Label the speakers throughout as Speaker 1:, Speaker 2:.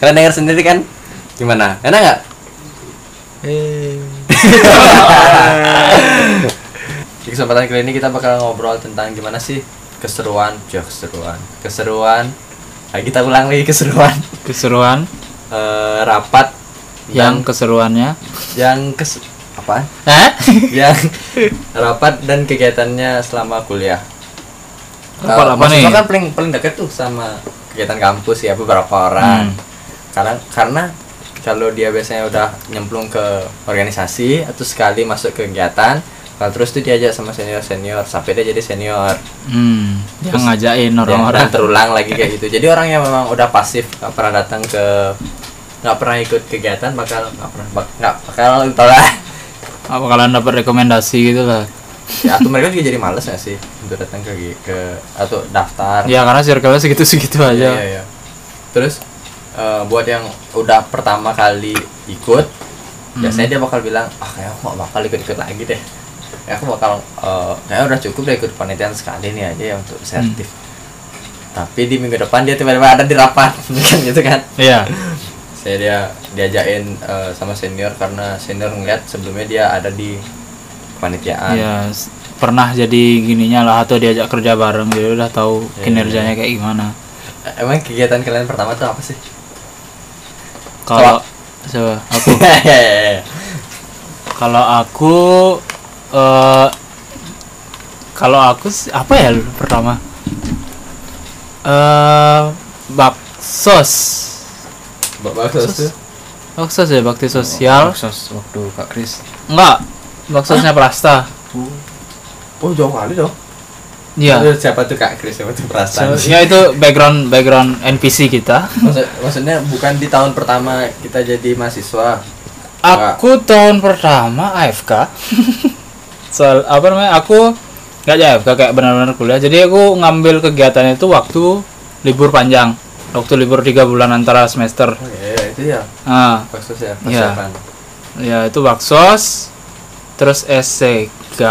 Speaker 1: Kalian denger sendiri kan? Gimana? Enak nggak?
Speaker 2: Eh,
Speaker 1: Di kesempatan kali ini kita bakal ngobrol tentang gimana sih keseruan, ya keseruan, keseruan. Nah, kita ulang lagi keseruan
Speaker 2: keseruan
Speaker 1: Eh, rapat
Speaker 2: yang
Speaker 1: dan-
Speaker 2: keseruannya. Eh?
Speaker 1: yang kes apa?
Speaker 2: Hah?
Speaker 1: yang rapat dan kegiatannya selama kuliah.
Speaker 2: Rapat
Speaker 1: Eh,
Speaker 2: apa
Speaker 1: mahasiswa
Speaker 2: nih?
Speaker 1: kan paling paling dekat tuh sama kegiatan kampus ya beberapa orang.
Speaker 2: Hmm.
Speaker 1: Karena karena kalau dia biasanya udah nyemplung ke organisasi atau sekali masuk ke kegiatan, kalau terus tuh diajak sama senior-senior sampai dia jadi senior.
Speaker 2: Hmm, dia ngajain
Speaker 1: orang
Speaker 2: orang-orang.
Speaker 1: terulang lagi kayak gitu. Jadi orang yang memang udah pasif nggak pernah datang ke nggak pernah ikut kegiatan bakal nggak pernah bak- nggak bakal tau lah.
Speaker 2: Apa kalian dapat rekomendasi gitu lah?
Speaker 1: ya atau mereka juga jadi males gak sih untuk datang ke ke atau daftar
Speaker 2: Ya karena circle segitu-segitu
Speaker 1: Iya,
Speaker 2: aja.
Speaker 1: iya, iya. terus eh, buat yang udah pertama kali ikut biasanya dia bakal bilang ah kayaknya aku gak bakal ikut ikut lagi deh Kayaknya aku bakal eh, kayaknya udah cukup deh ikut penelitian sekali nih aja ya untuk sertif tapi di minggu depan dia tiba-tiba ada di rapat kan gitu kan
Speaker 2: Iya.
Speaker 1: saya dia diajakin eh, sama senior karena senior ngeliat sebelumnya dia ada di kepanitiaan
Speaker 2: Iya, s- pernah jadi gininya lah atau diajak kerja bareng jadi udah tahu
Speaker 1: Iya,
Speaker 2: kinerjanya kayak gimana.
Speaker 1: Emang kegiatan kalian pertama tuh apa sih?
Speaker 2: Kalau coba aku kalau aku eh kalau aku s- apa ya dulu pertama? Eh baksos.
Speaker 1: Bakso tuh.
Speaker 2: Baksos ya bakti sosial.
Speaker 3: Sos waktu Kak Kris.
Speaker 2: Enggak. Baksosnya Prasta.
Speaker 1: Oh jauh kali dong.
Speaker 2: Iya.
Speaker 1: Terus Siapa tuh Kak Kris? Siapa tuh perasaan?
Speaker 2: Seharusnya itu background background NPC kita.
Speaker 1: Maksud- maksudnya bukan di tahun pertama kita jadi mahasiswa.
Speaker 2: Aku tahun pertama AFK. Soal apa namanya? Aku ya, nggak jadi AFK kayak benar-benar kuliah. Jadi aku ngambil kegiatan itu waktu libur panjang. Waktu libur tiga bulan antara semester.
Speaker 1: Oh iya, iya, itu ya.
Speaker 2: Ah,
Speaker 1: Bakso ya.
Speaker 2: Iya.
Speaker 1: Persiapan.
Speaker 2: ya itu baksos. Terus SCK.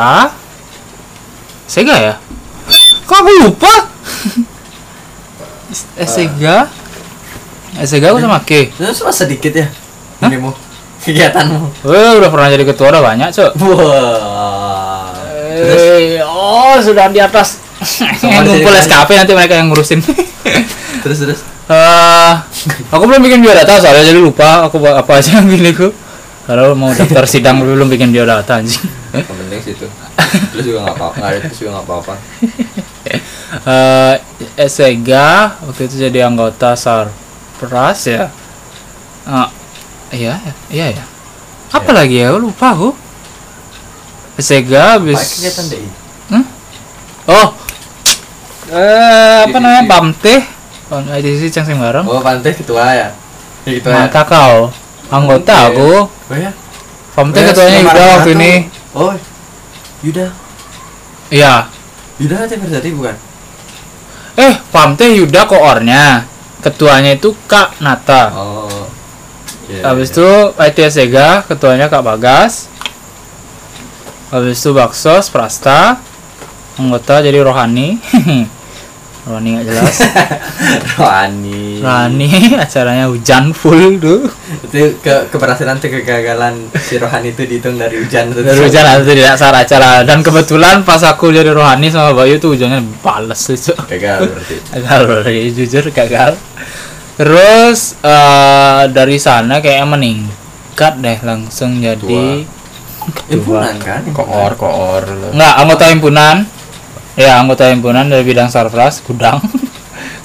Speaker 2: SCK ya? Kok aku lupa? SCK. SCK aku sama K.
Speaker 1: Terus cuma sedikit ya. Demo kegiatanmu.
Speaker 2: Wah, udah pernah jadi ketua udah banyak, Cok.
Speaker 1: Wah. Terus
Speaker 2: Eh, oh sudah di atas.
Speaker 1: Sama di
Speaker 2: Ngumpul
Speaker 1: sini.
Speaker 2: SKP nanti mereka yang ngurusin.
Speaker 1: terus terus.
Speaker 2: Eh, aku belum bikin biodata soalnya jadi lupa aku buat apa aja yang milikku. Kalau mau daftar sidang dulu belum bikin biodata anjing.
Speaker 1: Yang penting situ. Terus juga nggak apa-apa. Nggak ada terus juga nggak apa-apa.
Speaker 2: Eh, Esega waktu itu jadi anggota Sarpras ya. Eh, iya, iya ya. Apa
Speaker 1: Iya.
Speaker 2: lagi ya? Aku Lupa aku. Esega habis
Speaker 1: Apa kegiatan deh?
Speaker 2: Oh. Eh, apa
Speaker 3: Divisi.
Speaker 2: namanya? Bamteh. Oh, divisi Cengsim Bareng.
Speaker 1: Oh pantai ketua ya. Ya, Ketua. ya.
Speaker 2: Mata kau. Anggota
Speaker 1: Oke.
Speaker 2: aku.
Speaker 1: Oh ya.
Speaker 2: Bamteh
Speaker 1: Oh, ya,
Speaker 2: ketuanya
Speaker 1: Semarang
Speaker 2: Yuda waktu
Speaker 1: Ratu.
Speaker 2: ini.
Speaker 1: Oh. Yuda.
Speaker 2: Iya.
Speaker 1: Yuda hati berarti bukan?
Speaker 2: Eh, Bamteh Yuda koornya. Ketuanya itu Kak Nata.
Speaker 1: Oh.
Speaker 2: Habis itu ITS Sega, ketuanya Kak Bagas. Habis itu Baksos Prasta. Anggota jadi Rohani. Rohani nggak jelas.
Speaker 1: Rohani.
Speaker 2: Rohani acaranya hujan full tuh.
Speaker 1: Itu ke keberhasilan atau kegagalan si Rohani itu dihitung dari hujan itu.
Speaker 2: Dari hujan atau tidak saat acara dan kebetulan pas aku jadi rohani sama Bayu tuh hujannya bales itu
Speaker 1: Gagal berarti.
Speaker 2: gagal berarti, jujur gagal terus eh, dari sana kayak meningkat deh langsung jadi
Speaker 1: Impunan kan?
Speaker 3: Koor koor lo.
Speaker 2: nggak anggota himpunan ya anggota himpunan dari bidang sarfras gudang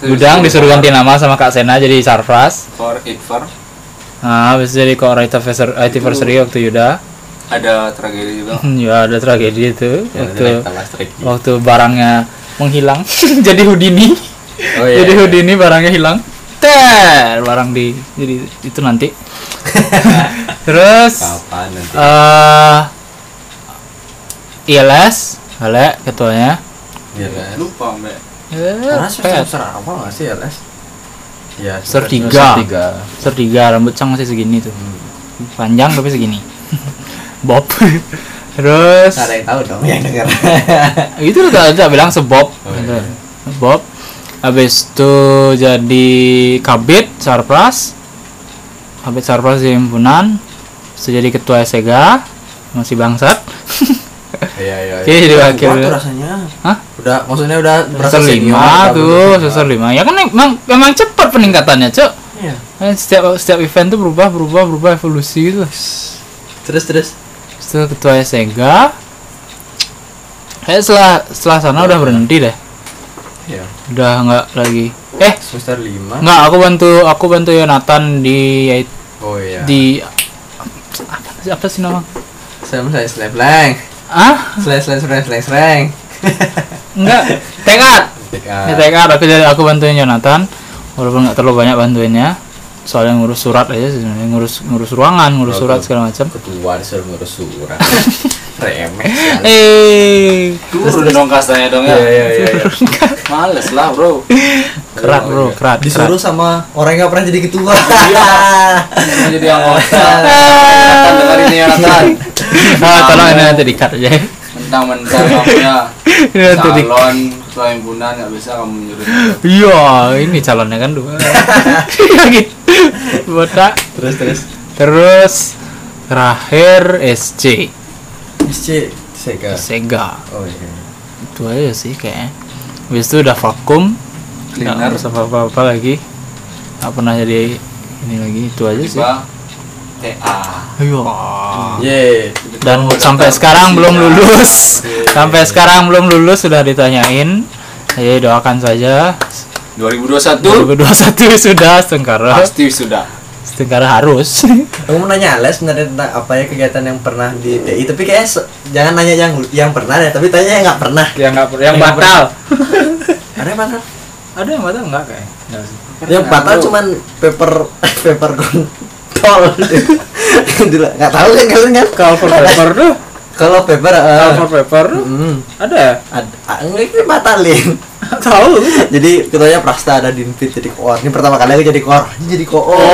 Speaker 2: gudang disuruh ganti nama sama kak Sena jadi sarfras
Speaker 3: For it for
Speaker 2: nah habis itu jadi koordinator anniversary waktu Yuda
Speaker 3: ada tragedi juga.
Speaker 2: ya ada tragedi itu
Speaker 1: Ya, nanti
Speaker 2: waktu
Speaker 1: tambah strik.
Speaker 2: waktu barangnya menghilang jadi Houdini
Speaker 1: Oh iya.
Speaker 2: jadi
Speaker 1: iya.
Speaker 2: Houdini barangnya hilang ter barang di jadi itu nanti terus
Speaker 1: Kapan nanti?
Speaker 2: eh ILS Ale E, ketuanya
Speaker 1: Iya. Les.
Speaker 3: Lupa mbak.
Speaker 2: Eh,
Speaker 1: Karena
Speaker 2: pet.
Speaker 1: semester awal nggak sih ya Les? ya
Speaker 2: Ser
Speaker 1: seperti-
Speaker 2: tiga.
Speaker 3: tiga.
Speaker 2: Ser tiga, rambut cang masih segini tuh. Panjang tapi segini. Bob. Terus
Speaker 1: Nggak ada yang tahu dong yang denger
Speaker 2: itu udah ada bilang sebob.
Speaker 1: Oh, iya.
Speaker 2: Ada. Bob. Habis itu jadi kabit Sarpras. Kabit Sarpras di himpunan. Terus jadi ketua SEGA masih bangsat.
Speaker 1: iya iya
Speaker 2: Oke, jadi
Speaker 1: Udah
Speaker 2: wakil.
Speaker 1: kuat tuh rasanya
Speaker 2: Hah?
Speaker 1: udah maksudnya udah berasa
Speaker 2: Semester
Speaker 1: senior, gitu.
Speaker 2: lima
Speaker 1: udah
Speaker 2: tuh,
Speaker 1: berasa-
Speaker 2: semester lima. Ya kan emang, emang cepat peningkatannya, Cuk.
Speaker 1: iya
Speaker 2: Kan Setiap setiap event tuh berubah, berubah, berubah evolusi gitu.
Speaker 1: terus terus
Speaker 2: Terus itu ketua SEGA Kayaknya setelah, setelah sana udah berhenti deh
Speaker 1: iya
Speaker 2: Udah nggak lagi Eh
Speaker 1: semester lima
Speaker 2: nggak aku bantu aku bantu Yonatan di
Speaker 1: oh iya
Speaker 2: di apa, sih- apa sih nama?
Speaker 1: saya saya slap lang
Speaker 2: Ah
Speaker 1: slap slap slap slap slap
Speaker 2: nggak tekad ya, tekad aku jadi aku bantuin Yonatan walaupun nggak terlalu banyak bantuinnya soalnya ngurus surat aja sebenarnya ngurus ngurus ruangan ngurus
Speaker 1: Oke.
Speaker 2: surat segala macam
Speaker 1: ketua disuruh ngurus surat remeh
Speaker 2: Iya,
Speaker 1: sekali.
Speaker 2: eh
Speaker 1: Oh,
Speaker 3: Turun dong kastanya dong ya.
Speaker 1: Iya, iya, iya, iya.
Speaker 3: Males lah bro.
Speaker 2: kerat
Speaker 1: Oh,
Speaker 2: bro
Speaker 1: iya.
Speaker 2: kerat
Speaker 1: disuruh
Speaker 2: kerat.
Speaker 1: sama orang yang nggak pernah jadi ketua
Speaker 2: Iya.
Speaker 3: Mau jadi ya. anggota. Nathan,
Speaker 2: Ah,
Speaker 3: dengerin ya Nathan.
Speaker 2: tolong ini nanti dikat aja
Speaker 3: Mentang-mentang kamu ya
Speaker 2: ini
Speaker 1: Kan
Speaker 2: nanti di
Speaker 3: calon ketua himpunan nggak bisa kamu nyuruh.
Speaker 2: Iya, ini calonnya kan dua. Iya gitu. Botak.
Speaker 1: terus terus
Speaker 2: Terus terakhir SC
Speaker 1: SC Sega
Speaker 2: Sega.
Speaker 1: oh iya
Speaker 2: Itu aja sih kayaknya. Habis itu udah vakum. Nggak
Speaker 3: Cleaner.
Speaker 2: harus apa-apa lagi. Nggak pernah jadi ini lagi. Itu aja sih.
Speaker 3: Tiba TA.
Speaker 2: Iya.
Speaker 1: Yeay
Speaker 2: Dan sampai sekarang belum lulus. Sampai sekarang belum lulus sudah ditanyain. Jadi doakan saja.
Speaker 3: 2021
Speaker 2: 2021 sudah Setengkara
Speaker 3: pasti sudah.
Speaker 2: Setengkara harus.
Speaker 1: Aku mau nanya Les sebenarnya tentang apa ya kegiatan yang pernah di TI tapi kayak jangan nanya yang yang pernah deh tapi tanya yang nggak pernah
Speaker 3: Ya.
Speaker 2: yang nggak yang
Speaker 1: yang
Speaker 2: batal
Speaker 1: ada yang batal
Speaker 2: ada yang batal nggak kayak
Speaker 1: yang batal cuman paper paper kontol Dila- nggak tahu kan kalian kan
Speaker 2: cover paper tuh
Speaker 1: kalau paper eh,
Speaker 2: cover paper tuh
Speaker 1: mm,
Speaker 2: ada ya
Speaker 1: ad- ah, ini batalin
Speaker 2: tahu
Speaker 1: jadi ketuanya Prasta ada di Invit jadi koor ini pertama kali aku jadi koor Ini jadi koor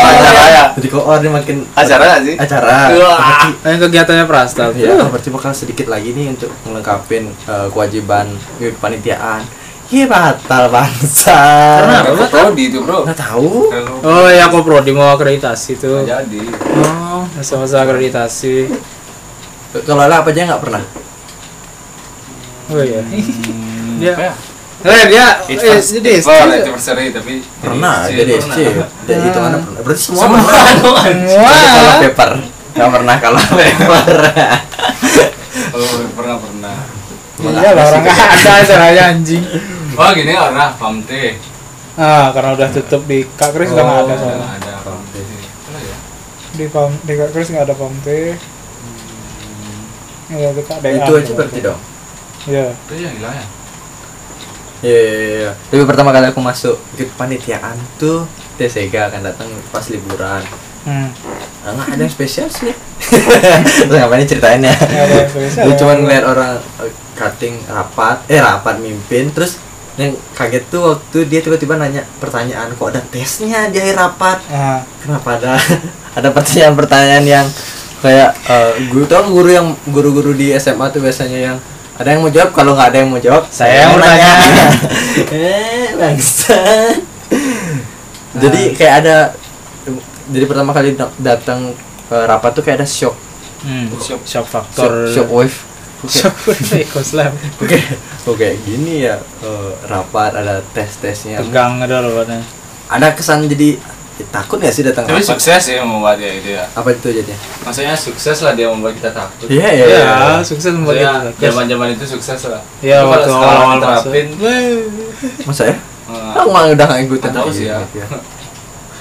Speaker 3: acara ya?
Speaker 1: jadi koor ini makin
Speaker 3: Acara nggak sih?
Speaker 1: acara
Speaker 3: Wah.
Speaker 2: yang kegiatannya prasta
Speaker 1: ya
Speaker 2: tuh
Speaker 1: berarti bakal sedikit lagi nih untuk melengkapi eh, kewajiban kepanitiaan Ih batal bangsa
Speaker 2: Karena-
Speaker 3: Kalau Prodi itu bro.
Speaker 1: nggak tahu
Speaker 2: oh ya aku prodi mau akreditasi
Speaker 3: Nggak
Speaker 2: tuh
Speaker 3: Jadi.
Speaker 2: oh masa-masa akreditasi
Speaker 1: kalau lah apa aja nggak pernah
Speaker 2: oh iya Iya.
Speaker 3: apa ya?
Speaker 2: eh dia
Speaker 3: It's
Speaker 2: eh,
Speaker 3: first-
Speaker 2: jadi
Speaker 3: it's first
Speaker 2: SD.
Speaker 3: anniversary, tapi
Speaker 1: pernah
Speaker 3: jadi
Speaker 1: jadi SC dan itu mana pernah berarti semua,
Speaker 3: iya, Semua
Speaker 1: pernah
Speaker 2: semua
Speaker 1: Kecuali kalau paper nggak pernah kalau paper
Speaker 3: Oh, pernah pernah.
Speaker 2: iya lah orang nggak ada caranya anjing
Speaker 3: Wah Oh, gini karena pamte.
Speaker 2: ah karena udah tutup di kak Kris udah nggak ada soalnya
Speaker 3: ada pamte. Apa ya?
Speaker 2: di pam di kak Kris nggak ada pamte Iya, itu Kak
Speaker 1: itu
Speaker 2: DA.
Speaker 1: aja berarti dong
Speaker 2: Iya.
Speaker 3: Itu yang gila ya.
Speaker 1: Iya, iya, iya. Tapi pertama kali aku masuk ke panitiaan tuh TSEGA akan datang pas liburan.
Speaker 2: Hmm.
Speaker 1: Ah, nggak ada yang spesial sih. Terus ngapain ceritain ya?
Speaker 2: Nggak ada yang spesial.
Speaker 1: Gue cuma ngeliat orang eh, cutting rapat, eh rapat mimpin. Terus yang kaget tuh waktu dia tiba-tiba nanya pertanyaan kok ada tesnya di akhir rapat.
Speaker 2: Ah.
Speaker 1: Kenapa ada ada pertanyaan-pertanyaan yang kayak eh, guru tau guru yang guru-guru di SMA tuh biasanya yang ada yang mau jawab kalau nggak ada yang mau jawab
Speaker 2: Saya yang
Speaker 1: nanya.
Speaker 2: bertanya.
Speaker 1: eh bangsa jadi kayak ada jadi pertama kali da- datang ke rapat tuh kayak ada shock
Speaker 2: Hmm. Shock
Speaker 3: Shock-
Speaker 1: shock,
Speaker 2: factor.
Speaker 1: shock wave
Speaker 2: Shock Ekoslam.
Speaker 1: oke oke gini ya eh, rapat ada tes tesnya
Speaker 2: Tegang ada loh badannya.
Speaker 1: ada kesan jadi eh, takut nggak sih datang
Speaker 3: Tapi
Speaker 1: rapat
Speaker 3: sukses ya membuat ya itu ya.
Speaker 1: apa itu jadinya
Speaker 3: Maksudnya sukses lah dia membuat kita takut.
Speaker 1: iya iya iya.
Speaker 2: Iya, sukses membuat
Speaker 3: Maksudnya
Speaker 2: kita sukses.
Speaker 3: zaman-zaman itu sukses lah.
Speaker 2: Iya,
Speaker 3: Itu kalau
Speaker 2: waktu
Speaker 3: sekarang
Speaker 2: awal-awal
Speaker 3: diterapin,
Speaker 2: terapin.
Speaker 1: masa ya
Speaker 3: eh,
Speaker 1: aku nggak udah nggak ikutan
Speaker 3: Nggak tahu sih
Speaker 1: Iya,
Speaker 3: ya.
Speaker 1: iya.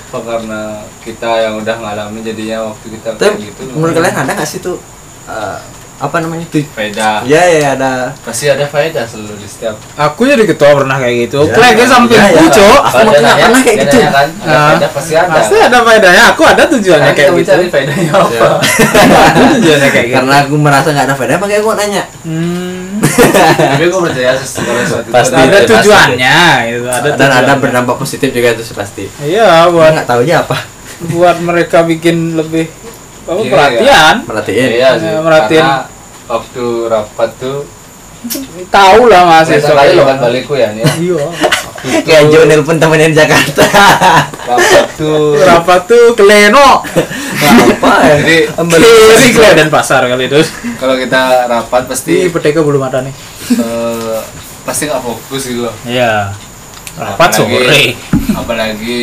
Speaker 3: apa karena kita yang udah ngalamin jadinya waktu kita kayak
Speaker 1: tapi
Speaker 3: gitu.
Speaker 1: menurut kalian ada nggak sih tuh eh, apa namanya tuh
Speaker 3: Faedah.
Speaker 1: Iya ya ada
Speaker 3: Pasti ada faedah selalu di setiap.
Speaker 2: Aku jadi ketua pernah kayak gitu.
Speaker 1: Iya.
Speaker 2: Klik sampai
Speaker 1: Iya, iya.
Speaker 2: aku, Cok.
Speaker 1: Aku mungkin nggak pernah kayak gitu.
Speaker 3: Kan, ada
Speaker 2: Ah.
Speaker 3: faedah pasti ada.
Speaker 2: Pasti ada faedahnya. Aku ada tujuannya
Speaker 3: Makanya
Speaker 2: kayak
Speaker 3: kamu
Speaker 2: gitu.
Speaker 3: cari
Speaker 1: Iya.
Speaker 3: faedahnya apa?
Speaker 2: Aku tujuannya kayak gitu.
Speaker 1: karena aku merasa nggak ada faedah makanya aku nanya
Speaker 2: Hmm.
Speaker 3: tapi gue percaya segala sesuatu itu
Speaker 1: Pasti.
Speaker 3: ada-
Speaker 2: ada
Speaker 1: pasti.
Speaker 2: tujuannya gitu ada
Speaker 1: dan ada
Speaker 2: tujuannya.
Speaker 1: berdampak positif juga itu pasti
Speaker 2: iya
Speaker 1: gua
Speaker 2: buat
Speaker 1: nggak tahunya apa
Speaker 2: buat mereka bikin lebih apa
Speaker 3: Iya,
Speaker 2: perhatian
Speaker 1: merhatiin
Speaker 3: iya sih
Speaker 2: Ya, merhatiin.
Speaker 3: karena waktu rapat tuh
Speaker 2: tahu lah masih
Speaker 3: Besok kali lo kan balikku ya nih
Speaker 2: iya
Speaker 1: kayak Jo nelpon temennya di Jakarta
Speaker 3: rapat tuh
Speaker 2: berapa tuh keleno
Speaker 1: apa ya
Speaker 3: jadi
Speaker 2: Iya, kiri dan pasar kali itu
Speaker 3: kalau kita rapat
Speaker 2: di
Speaker 3: pasti
Speaker 2: peteka belum ada nih
Speaker 3: eh, pasti nggak fokus gitu loh
Speaker 2: iya rapat
Speaker 3: Apalagi- ya?
Speaker 2: sore
Speaker 3: apalagi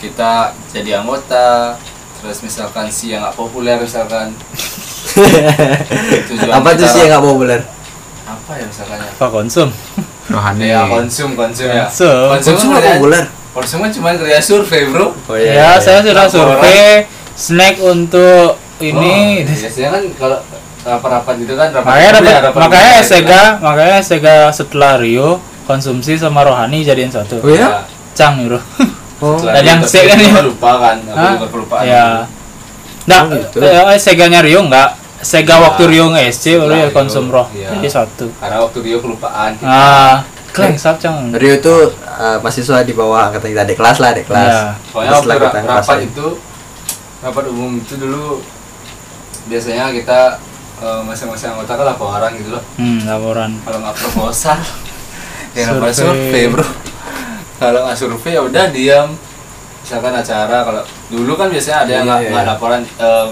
Speaker 3: kita jadi anggota terus misalkan si yang nggak populer misalkan Tujuan
Speaker 1: apa tuh
Speaker 3: kita-
Speaker 1: sih yang nggak populer
Speaker 3: apa ya misalkan ya
Speaker 2: apa konsum
Speaker 4: rohani
Speaker 1: Iya,
Speaker 3: ya konsum konsum ya
Speaker 2: Iya. Konsum.
Speaker 1: konsum nggak
Speaker 3: kerja-
Speaker 1: populer
Speaker 3: konsum kan cuma kerja survei bro
Speaker 1: oh
Speaker 3: iya,
Speaker 2: ya saya sudah
Speaker 3: Orang-
Speaker 2: survei snack untuk ini
Speaker 3: Oh, biasanya kan kalau rapat-rapat gitu kan rapat
Speaker 2: makanya
Speaker 3: kerja,
Speaker 2: dapat
Speaker 3: rapat
Speaker 2: makanya
Speaker 3: kerja,
Speaker 2: SEGA makanya SEGA setelah Rio konsumsi sama rohani jadiin satu
Speaker 1: oh ya
Speaker 3: Nah,
Speaker 2: cang nyuruh
Speaker 1: oh
Speaker 3: setelah
Speaker 2: Dan yang
Speaker 3: itu,
Speaker 2: C kan
Speaker 3: tapi
Speaker 2: ya?
Speaker 3: lupa kan aku
Speaker 2: Hah?
Speaker 3: juga kelupaan
Speaker 2: ya nah
Speaker 1: Oh, gitu.
Speaker 2: eh, SEGA-nya Rio enggak SEGA
Speaker 3: Ya.
Speaker 2: waktu Rio nge SC baru
Speaker 3: Setelah
Speaker 2: ya
Speaker 3: Rio,
Speaker 2: konsum roh
Speaker 3: ya.
Speaker 2: jadi satu
Speaker 3: karena waktu dia kelupaan gitu.
Speaker 2: ah kleng sap cang
Speaker 1: Rio itu eh, mahasiswa di bawah angkatan kita adik kelas lah adik kelas
Speaker 2: Iya.
Speaker 3: soalnya
Speaker 1: Terus
Speaker 3: waktu
Speaker 1: lah kita
Speaker 3: ra- rapat
Speaker 1: ngerasain.
Speaker 3: itu rapat umum itu dulu biasanya kita eh, masing-masing anggota kan laporan gitu loh
Speaker 2: hmm laporan
Speaker 3: kalau nggak proposal ya namanya
Speaker 2: Survei.
Speaker 3: survei bro kalau nggak survei ya udah diam misalkan acara kalau dulu kan biasanya ada yang nggak
Speaker 1: Iya,
Speaker 3: nggak
Speaker 1: iya.
Speaker 3: laporan eh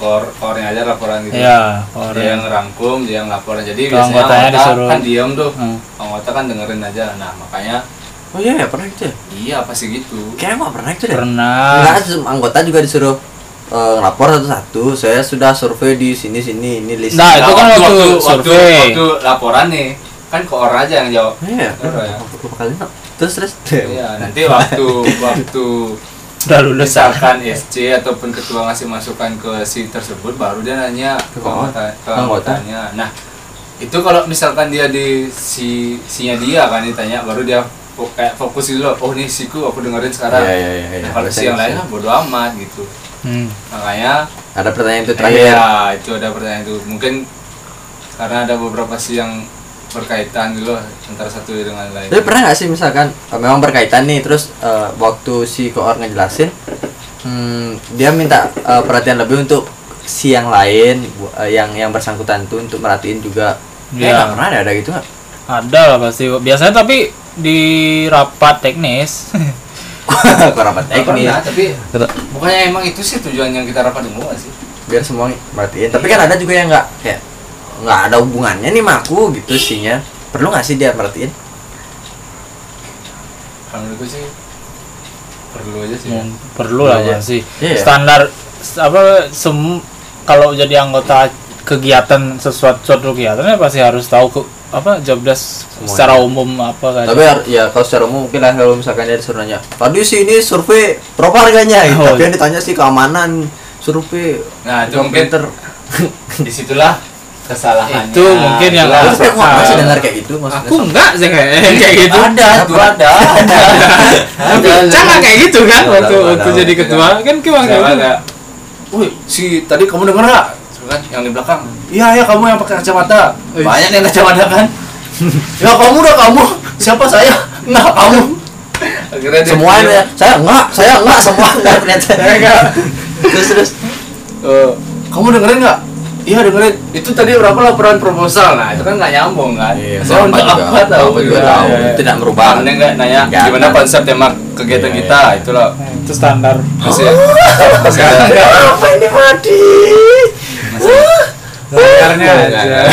Speaker 3: core core aja laporan gitu
Speaker 2: ya
Speaker 1: Iya.
Speaker 3: dia yang
Speaker 2: orang
Speaker 3: rangkum dia yang laporan jadi
Speaker 2: Kalau
Speaker 3: biasanya
Speaker 2: anggotanya
Speaker 3: anggota
Speaker 2: disuruh.
Speaker 3: kan diam tuh
Speaker 2: Hmm.
Speaker 3: anggota kan dengerin aja nah makanya
Speaker 1: oh iya ya pernah gitu ya
Speaker 3: iya apa sih gitu
Speaker 1: kayaknya nggak pernah gitu deh
Speaker 2: pernah
Speaker 1: Enggak, sem- anggota juga disuruh eh, ngelapor satu-satu. Saya sudah survei di sini-sini, ini list.
Speaker 3: Ah,
Speaker 2: Nah, itu kan waktu survei.
Speaker 3: waktu laporan nih kan ke orang aja yang jawab
Speaker 1: Iya,
Speaker 3: Bener ya?
Speaker 1: aku lupa kali no. Terus terus.
Speaker 3: iya nanti waktu waktu
Speaker 2: udah lulus ah.
Speaker 3: misalkan SC ataupun ketua ngasih masukan ke si tersebut baru dia nanya
Speaker 1: Ke
Speaker 3: ke
Speaker 1: bawah?
Speaker 3: anggota
Speaker 1: Ke
Speaker 3: ke
Speaker 1: anggota?
Speaker 3: anggotanya nah itu kalau misalkan dia di si sinya dia kan ditanya baru dia fo- kayak fokus dulu oh nih siku aku dengerin sekarang
Speaker 1: Iya, iya, iya, iya.
Speaker 3: Nah, kalau si yang lain
Speaker 1: Biasanya
Speaker 3: ah, bodo amat gitu
Speaker 2: hmm.
Speaker 3: makanya
Speaker 1: Ada pertanyaan itu terakhir.
Speaker 3: Iya, itu ada pertanyaan itu. Mungkin karena ada beberapa sih yang berkaitan dulu antara satu dengan lain.
Speaker 1: Tapi pernah nggak sih misalkan eh, memang berkaitan nih terus eh, waktu si koor ngejelasin hmm, dia minta eh, perhatian lebih untuk si yang lain bu- eh, yang yang bersangkutan tuh untuk merhatiin juga.
Speaker 2: Iya.
Speaker 1: Ya, nggak pernah ada, ada gitu nggak?
Speaker 2: ada lah pasti biasanya tapi di rapat teknis
Speaker 1: Kok rapat
Speaker 3: Nggak
Speaker 1: teknis.
Speaker 3: pernah, tapi bukannya emang itu sih tujuan yang kita rapat umum nggak sih?
Speaker 1: biar semua merhatiin tapi kan ada juga yang nggak kayak nggak ada hubungannya nih sama aku gitu sihnya perlu nggak sih dia merhatiin
Speaker 3: Kalau menurutku sih perlu aja sih.
Speaker 2: Hmm, perlu lah
Speaker 1: Iya, iya.
Speaker 2: pasti
Speaker 1: Iya, iya.
Speaker 2: standar s- apa sem kalau jadi anggota kegiatan sesuatu suatu kegiatan ya pasti harus tahu ke, apa job desk
Speaker 1: Semuanya.
Speaker 2: secara umum apa kan
Speaker 1: tapi har- ya kalau secara umum mungkin lah kalau misalkan dia disuruh nanya tadi sih ini survei berapa harganya gitu.
Speaker 2: Oh,
Speaker 1: tapi
Speaker 2: iya.
Speaker 1: yang ditanya sih keamanan survei
Speaker 3: Nah, itu mungkin
Speaker 1: komputer
Speaker 3: disitulah kesalahannya. Iya.
Speaker 2: Itu mungkin yang-
Speaker 3: Itulah
Speaker 1: terus aku nggak
Speaker 3: kesalahan.
Speaker 1: masih dengar kayak gitu maksudnya
Speaker 2: aku enggak sih kayak
Speaker 1: Iya,
Speaker 2: kayak gitu
Speaker 3: Ada, itu ada. ada.
Speaker 2: tapi
Speaker 3: Ada.
Speaker 2: jangan kayak gitu kan
Speaker 1: Ada,
Speaker 2: waktu
Speaker 1: Iya, ada,
Speaker 2: waktu
Speaker 1: ada.
Speaker 2: jadi ketua kan kayak
Speaker 3: Misalkan
Speaker 2: gitu
Speaker 3: kayak, Wih, si tadi kamu denger nggak? Terus Kan yang di belakang. Iya, ya kamu yang pakai kacamata. Banyak yang kacamata kan? ya kamu udah kamu. Siapa saya? Nah, kamu. Akhirnya dia-
Speaker 1: semua ya
Speaker 3: dia-
Speaker 1: saya enggak saya enggak semua enggak ternyata terus terus
Speaker 3: Eh, kamu dengerin nggak? Iya dengerin. Itu tadi berapa laporan proposal? Nah, itu kan nggak nyambung kan? Saya untuk
Speaker 1: Bapak Iya, juga-
Speaker 3: apa tahu?
Speaker 1: Bapak juga
Speaker 3: Iya,
Speaker 1: tahu
Speaker 3: iya, iya.
Speaker 1: tidak merubah
Speaker 3: Karena nggak nanya
Speaker 1: Nggak,
Speaker 3: gimana
Speaker 1: kan.
Speaker 3: konsep tema kegiatan
Speaker 1: Iya,
Speaker 3: kita,
Speaker 1: iya.
Speaker 3: itulah.
Speaker 2: Nah, itu standar
Speaker 3: Masih
Speaker 2: Oh.
Speaker 3: ya. Masih ada.
Speaker 1: apa ini Madi
Speaker 2: standarnya
Speaker 3: Nggak,
Speaker 2: aja
Speaker 3: nggak.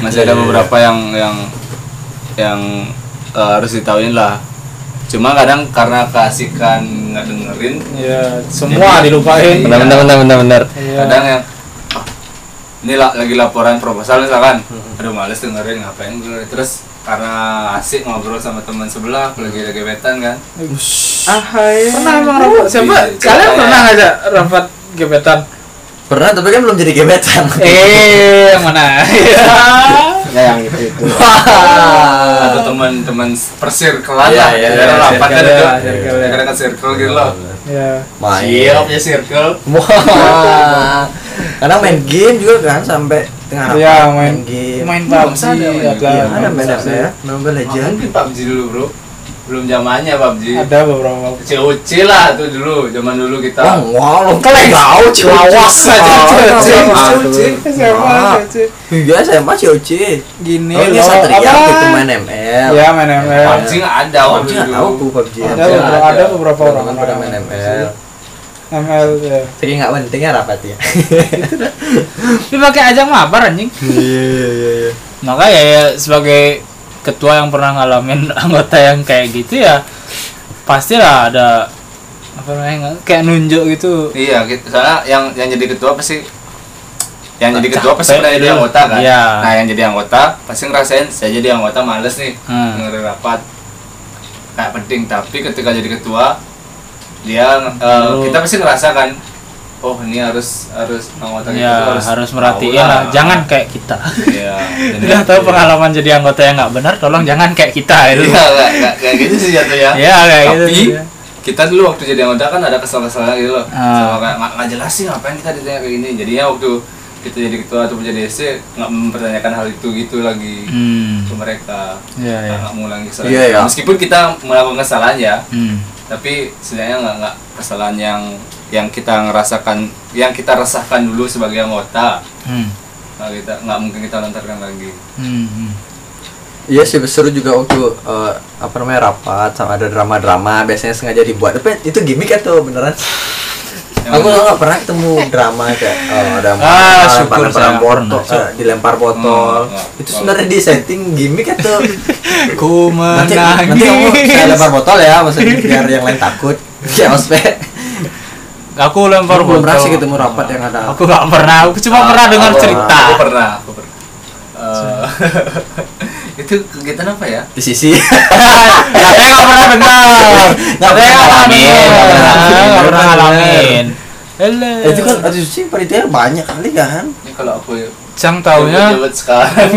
Speaker 3: masih ada
Speaker 1: Iya, iya,
Speaker 3: beberapa yang yang yang eh, harus ditahuin lah cuma kadang karena kasihkan nggak dengerin
Speaker 2: ya semua
Speaker 3: Jadi-
Speaker 2: dilupain
Speaker 3: Iya.
Speaker 4: benar benar benar benar benar
Speaker 2: Iya.
Speaker 3: kadang yang "Ah, ini la- lagi laporan proposal misalkan
Speaker 2: Hmm.
Speaker 3: aduh males dengerin ngapain dengerin. terus karena asik ngobrol sama teman sebelah lagi ada gebetan kan
Speaker 2: pernah emang rapat siapa
Speaker 3: Iya, iya.
Speaker 2: kalian pernah ngajak rapat gebetan
Speaker 1: pernah tapi kan belum jadi gebetan
Speaker 2: eh yang mana
Speaker 4: ya yang itu itu
Speaker 1: Iya.
Speaker 3: atau teman-teman persir kelas
Speaker 1: Eh, Iya,
Speaker 3: lah
Speaker 1: iya,
Speaker 3: Karena
Speaker 1: iya,
Speaker 3: rapat kan
Speaker 2: circle
Speaker 3: itu
Speaker 2: ya, circle ya.
Speaker 3: dekat circle gitu loh
Speaker 2: ya
Speaker 1: main
Speaker 3: siap ya circle
Speaker 1: Wah. kadang main game juga kan sampai tengah
Speaker 2: Iya,
Speaker 1: rapat,
Speaker 2: main-
Speaker 1: game
Speaker 2: main
Speaker 3: Belum
Speaker 2: PUBG
Speaker 3: sadar, main
Speaker 2: ada
Speaker 1: Iya,
Speaker 3: game.
Speaker 1: ada main apa ya Mobile Legend
Speaker 3: Mungkin PUBG dulu bro Belum zamannya PUBG
Speaker 2: Iya. ada beberapa
Speaker 3: COC lah tuh dulu Zaman dulu kita
Speaker 1: wah ngolong kelek tahu lawas aja
Speaker 3: COC COC
Speaker 4: Iya.
Speaker 2: SMA
Speaker 1: Ah.
Speaker 2: CC.
Speaker 1: iya SMA COC
Speaker 2: gini
Speaker 1: oh ini
Speaker 2: loh,
Speaker 1: satria
Speaker 2: apa?
Speaker 1: waktu itu main ML
Speaker 4: Iya,
Speaker 2: ya main ML
Speaker 3: PUBG nggak ada waktu
Speaker 1: PUBG nggak
Speaker 3: dulu.
Speaker 1: tahu aku PUBG
Speaker 2: ada
Speaker 3: Ada,
Speaker 2: beberapa ada
Speaker 3: ada.
Speaker 2: beberapa orang
Speaker 1: orang pada
Speaker 2: orang
Speaker 1: main ML
Speaker 2: ML ya.
Speaker 1: tapi nggak penting ya rapat ya
Speaker 2: dipakai ajang mabar anjing
Speaker 1: iya iya iya
Speaker 2: makanya ya sebagai ketua yang pernah ngalamin anggota yang kayak gitu ya pastilah ada apa namanya kayak nunjuk gitu
Speaker 3: Iya gitu Soalnya yang, yang jadi ketua pasti yang jadi ketua pasti
Speaker 2: Capek
Speaker 3: pernah jadi
Speaker 2: dulu.
Speaker 3: anggota kan
Speaker 2: Iya.
Speaker 3: nah yang jadi anggota pasti ngerasain saya jadi anggota males nih
Speaker 2: Hmm.
Speaker 3: dengerin rapat nggak penting tapi ketika jadi ketua dia eh,
Speaker 2: Lu-
Speaker 3: kita pasti ngerasakan oh ini harus harus anggota gitu
Speaker 2: ya harus, merhatiin
Speaker 3: tahu
Speaker 2: lah jangan kayak kita
Speaker 3: iya jadi-
Speaker 2: udah tahu pengalaman jadi anggota yang nggak benar tolong jangan kayak kita
Speaker 3: Iya,
Speaker 2: itu
Speaker 3: nggak- nggak- kayak gitu sih jatuhnya
Speaker 2: ya kayak gitu
Speaker 3: tapi
Speaker 2: ya.
Speaker 3: kita dulu waktu jadi anggota kan ada kesel-keselan gitu loh
Speaker 2: Ah.
Speaker 3: sama kayak nggak nggak jelas sih ngapain kita ditanya kayak gini jadinya waktu kita jadi ketua atau jadi SC nggak mempertanyakan hal itu gitu lagi
Speaker 2: hmm
Speaker 3: ke mereka
Speaker 2: ya ya
Speaker 3: nggak mengulangi kesalahan
Speaker 1: Iya, iya.
Speaker 3: meskipun kita melakukan kesalahan ya
Speaker 2: hmm
Speaker 3: tapi sebenarnya nggak nggak kesalahan yang yang kita ngerasakan yang kita resahkan dulu sebagai anggota
Speaker 2: hmm
Speaker 3: nggak kita nggak mungkin kita lontarkan lagi
Speaker 2: hmm, hmm.
Speaker 1: Iya sih seru juga waktu eh, apa namanya rapat sama ada drama-drama biasanya sengaja dibuat tapi itu gimmick atau beneran?
Speaker 3: Yang
Speaker 1: aku nggak pernah ketemu drama kayak eh, ada
Speaker 2: Ah, syukur
Speaker 1: lemparan
Speaker 2: saya
Speaker 1: botol,
Speaker 2: pernah.
Speaker 1: eh, dilempar botol.
Speaker 3: Hmm, nggak.
Speaker 1: itu sebenarnya di setting gimmick atau
Speaker 2: ku
Speaker 1: nanti nanti kamu saya
Speaker 2: menangis
Speaker 1: lempar botol ya maksudnya biar yang lain takut. Ya maksudnya
Speaker 2: aku lempar
Speaker 1: Aku belum gitu. pernah
Speaker 2: botol.
Speaker 1: sih ketemu rapat yang ada-
Speaker 2: aku nggak pernah aku cuma
Speaker 3: Ah,
Speaker 2: pernah dengar
Speaker 3: aku-
Speaker 2: cerita
Speaker 3: aku pernah aku pernah Eh, itu kegiatan apa ya
Speaker 1: di sisi
Speaker 2: Katanya nggak pernah dengar
Speaker 1: Nggak
Speaker 2: Katanya nggak pernah
Speaker 1: pernah
Speaker 2: dengar
Speaker 1: ngalamin.
Speaker 2: Nggak pernah
Speaker 1: Bener.
Speaker 2: ngalamin Hele.
Speaker 1: Eh, itu kan di sisi panitia banyak kali kan.
Speaker 3: ini kalau aku
Speaker 2: Cang taunya
Speaker 3: Jabat sekarang.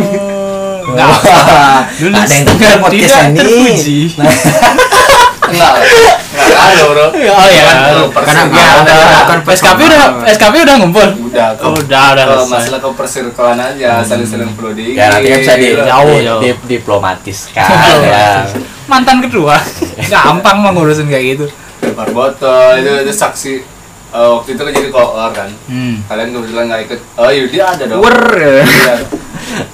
Speaker 2: Nggak
Speaker 1: Wah,
Speaker 2: Dulu
Speaker 1: ada yang dengar podcast
Speaker 2: tidak
Speaker 1: ini. Nah,
Speaker 2: terpuji.
Speaker 3: Enggak. Enggak ada, Bro.
Speaker 2: Oh ya
Speaker 3: Karena-
Speaker 1: karena
Speaker 3: Ya,
Speaker 1: ada
Speaker 3: ada.
Speaker 2: SKP udah SKP udah ngumpul
Speaker 3: Udah, ke,
Speaker 2: Udah udah
Speaker 3: ke
Speaker 2: selesai
Speaker 3: masalah ke persirkulan aja, saling-saling Iya. flooding.
Speaker 1: Ya nanti kan bisa di,
Speaker 2: Jauh,
Speaker 1: di-
Speaker 2: jauh.
Speaker 1: di- diplomatis kan ya.
Speaker 2: Mantan kedua Gampang mah ngurusin kayak gitu
Speaker 3: lempar botol itu itu saksi Eh, waktu itu kan jadi koor kan.
Speaker 2: Hmm
Speaker 3: Kalian kebetulan nggak ikut. Oh, Yudi ada dong.
Speaker 4: Wer.
Speaker 3: Iya.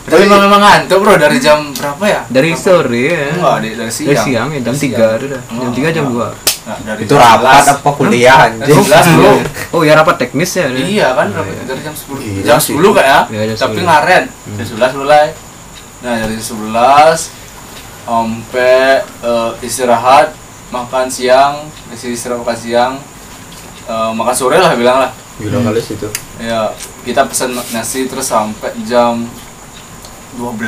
Speaker 3: Tapi memang memang ngantuk, Bro, dari jam berapa ya?
Speaker 4: Dari sore ya.
Speaker 3: Enggak, dari, dari siang.
Speaker 4: Dari siang ya jam 3 udah. Jam
Speaker 3: Oh,
Speaker 4: 3 jam
Speaker 3: enggak.
Speaker 4: 2.
Speaker 3: Nah, dari
Speaker 1: Itu
Speaker 3: jam
Speaker 1: rapat
Speaker 3: 11.
Speaker 1: apa kuliah
Speaker 3: Dari
Speaker 1: anjing?
Speaker 3: 11, Bro.
Speaker 4: Oh ya rapat teknis ya. udah.
Speaker 3: Iya kan berapa dari jam 10.
Speaker 1: Gila
Speaker 3: jam
Speaker 1: sih.
Speaker 3: 10 kayak ya?
Speaker 4: Iya, jam
Speaker 3: tapi
Speaker 4: 10.
Speaker 3: ngaret. Jam 11 mulai. Nah, dari jam 11 sampai eh, istirahat, makan siang, masih istirahat makan siang. eh, makan sore lah bilang lah.
Speaker 1: Gila kali situ.
Speaker 3: Ya, kita pesan nasi terus sampai jam 12.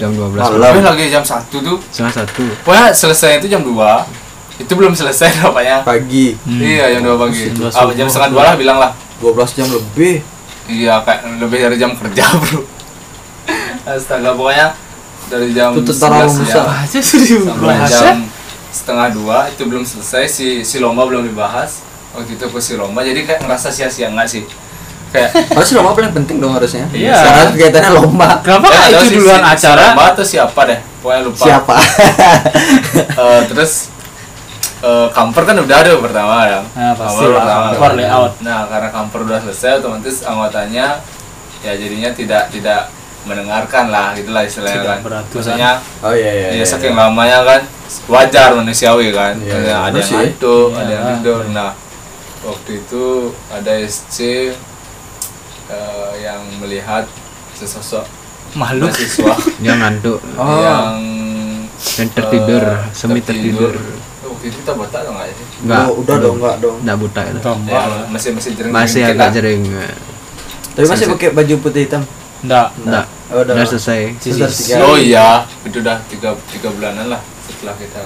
Speaker 4: Jam 12.
Speaker 1: Malam.
Speaker 3: Tapi lagi jam 1 tuh.
Speaker 4: Setengah satu.
Speaker 3: Pokoknya selesai itu jam 2. Itu belum selesai rupanya.
Speaker 1: Pagi
Speaker 2: Hmm.
Speaker 3: Iya, jam 2 pagi.
Speaker 2: Jam dua
Speaker 3: Ah,
Speaker 2: subuh.
Speaker 3: jam setengah 2 lah bilang lah.
Speaker 1: 12 jam lebih.
Speaker 3: Iya kayak lebih dari jam kerja bro Astaga pokoknya dari jam
Speaker 1: Itu tentara
Speaker 3: 11
Speaker 1: rusak.
Speaker 3: siang
Speaker 2: Aja serius
Speaker 3: sampai
Speaker 2: bahasa
Speaker 3: jam setengah dua itu belum selesai si si lomba belum dibahas waktu itu aku si lomba jadi kayak ngerasa sia-sia nggak sih kayak
Speaker 1: Harusnya lomba paling penting dong harusnya.
Speaker 2: Iya.
Speaker 1: Sekarang kegiatannya lomba.
Speaker 2: Kenapa
Speaker 3: eh,
Speaker 2: nggak
Speaker 3: nggak tahu
Speaker 2: itu
Speaker 3: sih,
Speaker 2: duluan
Speaker 3: si- si
Speaker 2: acara
Speaker 3: lomba atau siapa deh pokoknya lupa
Speaker 1: Siapa?
Speaker 3: Eh, terus eh, kamper kan udah ada pertama ya
Speaker 2: Nah, pasti
Speaker 3: Kamper
Speaker 2: lah,
Speaker 3: pertama.
Speaker 2: kamper layout.
Speaker 3: nah karena kamper udah selesai otomatis anggotanya ya jadinya tidak tidak mendengarkan lah gitulah istilahnya
Speaker 2: Tidak
Speaker 3: kan
Speaker 2: beraturan.
Speaker 3: maksudnya
Speaker 1: Oh iya iya.
Speaker 3: ya,
Speaker 1: iya.
Speaker 3: saking lamanya kan wajar manusiawi kan
Speaker 1: Iya,
Speaker 3: Ada-
Speaker 1: iya,
Speaker 3: ada
Speaker 1: bener
Speaker 3: yang
Speaker 1: sih.
Speaker 3: ngantuk
Speaker 2: Iya,
Speaker 3: ada yang
Speaker 2: iya.
Speaker 3: tidur nah waktu itu ada SC eh, yang melihat sesosok
Speaker 2: Makhluk
Speaker 3: mahasiswa
Speaker 4: Yang ngantuk.
Speaker 1: Oh.
Speaker 3: yang
Speaker 4: Yang tertidur,
Speaker 3: eh,
Speaker 4: semi tertidur.
Speaker 3: Eh, waktu itu kita botak atau nggak sih
Speaker 4: Enggak.
Speaker 1: Oh, udah dong, enggak dong.
Speaker 4: Enggak buta itu.
Speaker 3: ya,
Speaker 2: Tombak
Speaker 3: masih masih jering
Speaker 4: Masih
Speaker 3: dikit
Speaker 4: agak
Speaker 3: lah.
Speaker 4: jering.
Speaker 1: Tapi masih pakai baju putih hitam.
Speaker 2: Nggak
Speaker 4: Enggak.
Speaker 1: Oh, udah.
Speaker 4: Udah selesai.
Speaker 1: Sudah tiga.
Speaker 3: oh iya itu udah tiga tiga bulanan lah setelah kita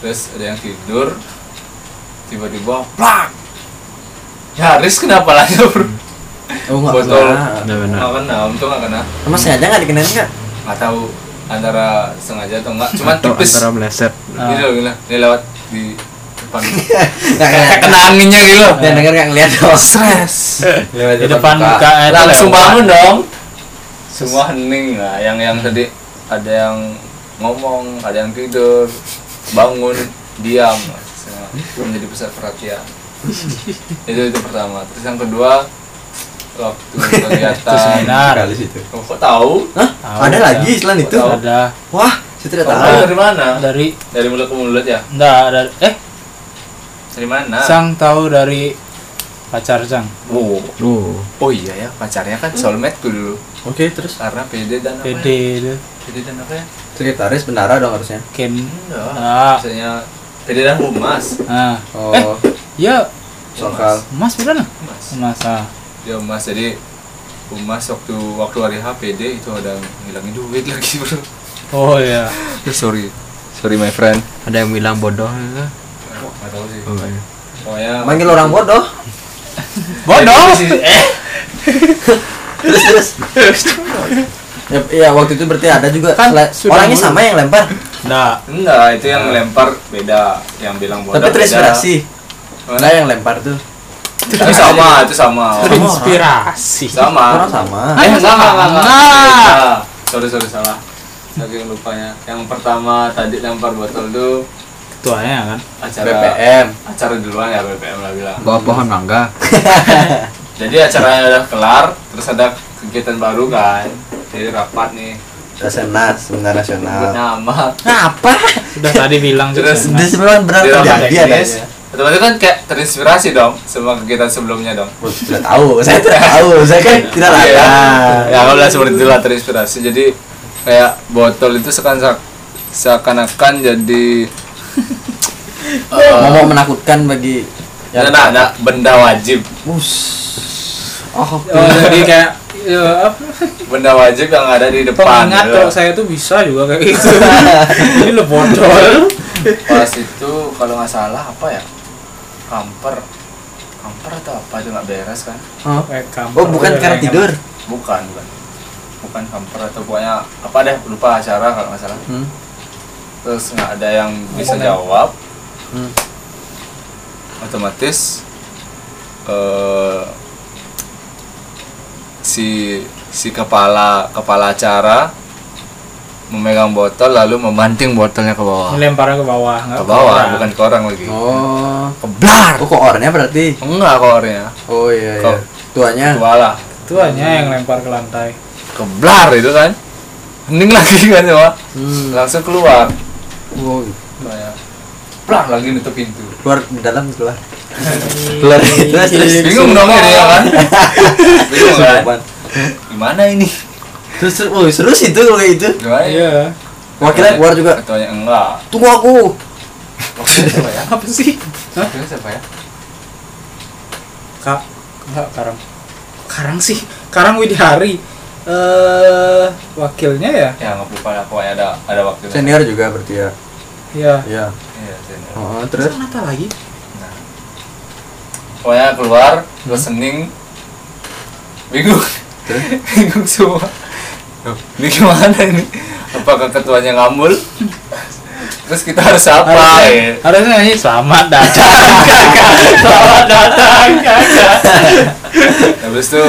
Speaker 3: terus ada yang tidur tiba-tiba plak nyaris kenapa lah bro
Speaker 1: Oh enggak.
Speaker 3: Botol.
Speaker 4: Hmm, Benar benar.
Speaker 3: nggak kena untung nggak kena
Speaker 1: Emang sengaja enggak dikenain enggak?
Speaker 3: nggak tahu antara sengaja atau enggak cuma
Speaker 4: Atau
Speaker 3: tipis
Speaker 4: antara meleset.
Speaker 3: ini loh gila ini lewat di depan
Speaker 1: Enggak kena.
Speaker 3: kena anginnya gitu
Speaker 4: Nah.
Speaker 1: Dan denger enggak ngeliat dong.
Speaker 3: stres
Speaker 1: Lewat
Speaker 2: di depan muka eh,
Speaker 3: langsung
Speaker 2: lewat.
Speaker 3: bangun dong semua hening lah yang yang tadi ada yang ngomong ada yang tidur bangun diam semua menjadi pusat perhatian itu itu pertama terus yang kedua waktu
Speaker 1: Itu
Speaker 3: kegiatan
Speaker 1: seminar kali situ.
Speaker 3: Oh, kok tahu
Speaker 5: Hah?
Speaker 2: Tahu,
Speaker 5: ada
Speaker 2: ya.
Speaker 5: lagi selain itu?
Speaker 3: Tahu.
Speaker 2: ada
Speaker 5: Wah, saya tidak
Speaker 3: Kamu
Speaker 5: tahu.
Speaker 3: dari mana
Speaker 2: dari
Speaker 3: dari mulut ke mulut ya
Speaker 2: enggak ada eh
Speaker 3: dari mana
Speaker 4: Nah.
Speaker 2: Sang tahu dari pacar Sang.
Speaker 3: oh
Speaker 4: Oh,
Speaker 3: oh iya ya pacarnya kan soulmate dulu
Speaker 1: Oke, terus
Speaker 3: karena pede dan apa ya?
Speaker 2: PD itu
Speaker 3: pede dan apa ya
Speaker 1: sekretaris bendara dong harusnya.
Speaker 2: Ken.
Speaker 3: enggak
Speaker 2: Ah,
Speaker 3: misalnya pede dan humas
Speaker 2: ah.
Speaker 1: Oh,
Speaker 2: Eh. Ya,
Speaker 1: sokal.
Speaker 2: Mas bukan lah.
Speaker 3: humas
Speaker 2: Mas. Ah.
Speaker 3: ya mas jadi Umas waktu waktu hari HPD itu ada ngilangin duit lagi bro.
Speaker 2: Oh iya.
Speaker 3: Ya, sorry, sorry my friend.
Speaker 4: ada yang bilang bodoh. ya?
Speaker 3: Gak tahu sih.
Speaker 4: Oh, iya.
Speaker 3: Pokoknya
Speaker 5: Manggil orang bodoh.
Speaker 2: Bodoh.
Speaker 5: Terus terus.
Speaker 1: Ya, iya, waktu itu berarti ada juga
Speaker 2: Kan
Speaker 1: sela-
Speaker 2: sudah
Speaker 1: orangnya
Speaker 2: mulai.
Speaker 1: sama yang lempar,
Speaker 2: Nah,
Speaker 3: enggak itu yang lempar beda, yang bilang bodoh.
Speaker 1: tapi
Speaker 3: beda.
Speaker 1: terinspirasi.
Speaker 3: Mana?
Speaker 1: Nah, yang lempar tuh
Speaker 3: Itu sama, itu sama.
Speaker 2: inspirasi.
Speaker 3: Sama.
Speaker 1: orang sama.
Speaker 3: Eh enggak enggak enggak. enggak.
Speaker 2: Enggak.
Speaker 3: Beda. Sorry sorry salah. Saking lupanya. Yang pertama tadi lempar botol tuh
Speaker 2: Ketuanya kan.
Speaker 3: acara
Speaker 1: BPM.
Speaker 3: acara duluan ya BPM lah bilang.
Speaker 4: Bawa pohon mangga.
Speaker 3: Jadi acaranya udah kelar, terus ada kegiatan baru kan. Jadi rapat nih,
Speaker 1: Rasenas, seminar
Speaker 3: sebut
Speaker 1: nasional.
Speaker 3: nama.
Speaker 1: Apa?
Speaker 2: Sudah tadi bilang juga.
Speaker 3: Terus-
Speaker 5: Terus memang benar
Speaker 3: Di rapat
Speaker 5: terjadi ada.
Speaker 1: ya.
Speaker 3: teknis. Otomatis kan kayak terinspirasi dong semua kegiatan sebelumnya dong.
Speaker 1: Oh, Sudah tahu, saya tidak tahu. Saya kan tidak
Speaker 3: Iya.
Speaker 1: ada.
Speaker 3: Ya kalau udah seperti itulah terinspirasi. Jadi kayak botol itu seakan seakan-akan jadi eh,
Speaker 1: Ngomong menakutkan bagi
Speaker 3: ya ada ada benda wajib
Speaker 1: Oh,
Speaker 2: Oh, jadi kayak ya, apa,
Speaker 3: benda wajib yang ada di depan
Speaker 2: pengingat
Speaker 3: gitu.
Speaker 2: kalau saya tuh bisa juga kayak gitu. Ini lo botol.
Speaker 3: pas itu kalau nggak salah apa ya kamper kamper atau apa itu nggak beres kan
Speaker 2: Kayak kamper.
Speaker 5: Oh, bukan
Speaker 2: ya,
Speaker 1: iya,
Speaker 2: Kayak
Speaker 5: karena
Speaker 2: kamper.
Speaker 5: tidur.
Speaker 3: bukan bukan bukan kamper atau pokoknya apa deh lupa acara kalau nggak salah
Speaker 1: Hmm.
Speaker 3: terus nggak ada yang bisa jawab
Speaker 1: Hmm.
Speaker 3: otomatis eh si si kepala kepala acara memegang botol lalu memanting botolnya ke bawah
Speaker 2: Melemparnya ke bawah, nggak
Speaker 3: ke bawah
Speaker 2: orang.
Speaker 3: bukan ke orang lagi
Speaker 1: Oh,
Speaker 3: keblar
Speaker 1: oh kok orangnya berarti?
Speaker 3: enggak ke orangnya
Speaker 1: Oh iya iya.
Speaker 3: Kok?
Speaker 1: Tuanya.
Speaker 3: tua lah
Speaker 2: Tuanya yang lempar ke lantai.
Speaker 3: keblar itu kan hening lagi kan semua
Speaker 1: Hmm.
Speaker 3: langsung keluar
Speaker 1: Wow.
Speaker 3: Kayak, plah lagi nutup pintu
Speaker 1: Keluar di dalam keluar. keluar
Speaker 2: Iya.
Speaker 1: terus terus.
Speaker 3: bingung dong ini ya kan bingung kan gimana ini
Speaker 1: Terus terus oh, seru sih itu kalau kayak gitu.
Speaker 3: gimana ya
Speaker 2: Iya.
Speaker 1: Wakilnya keluar juga.
Speaker 3: ketuanya enggak
Speaker 1: Tunggu aku.
Speaker 3: waktu siapa ya
Speaker 2: Apa sih? Hah?
Speaker 3: waktu siapa ya
Speaker 2: Kak, enggak Karang. Karang sih. Karang Widihari. Eh, wakilnya ya?
Speaker 3: ya nggak lupa lah pokoknya ada ada waktu
Speaker 1: Senior juga berarti ya.
Speaker 2: Iya.
Speaker 1: Iya.
Speaker 3: iya senior
Speaker 1: Oh,
Speaker 2: Terus
Speaker 1: terus
Speaker 2: kenapa lagi?
Speaker 3: nah. pokoknya keluar
Speaker 1: Hmm.
Speaker 3: gue sening bingung bingung semua Loh, ini gimana ini apakah ketuanya ngambul terus kita harus apa
Speaker 2: Ah,
Speaker 3: ya?
Speaker 2: Harusnya nyanyi selamat datang. kakak. selamat datang. Kakak.
Speaker 3: habis itu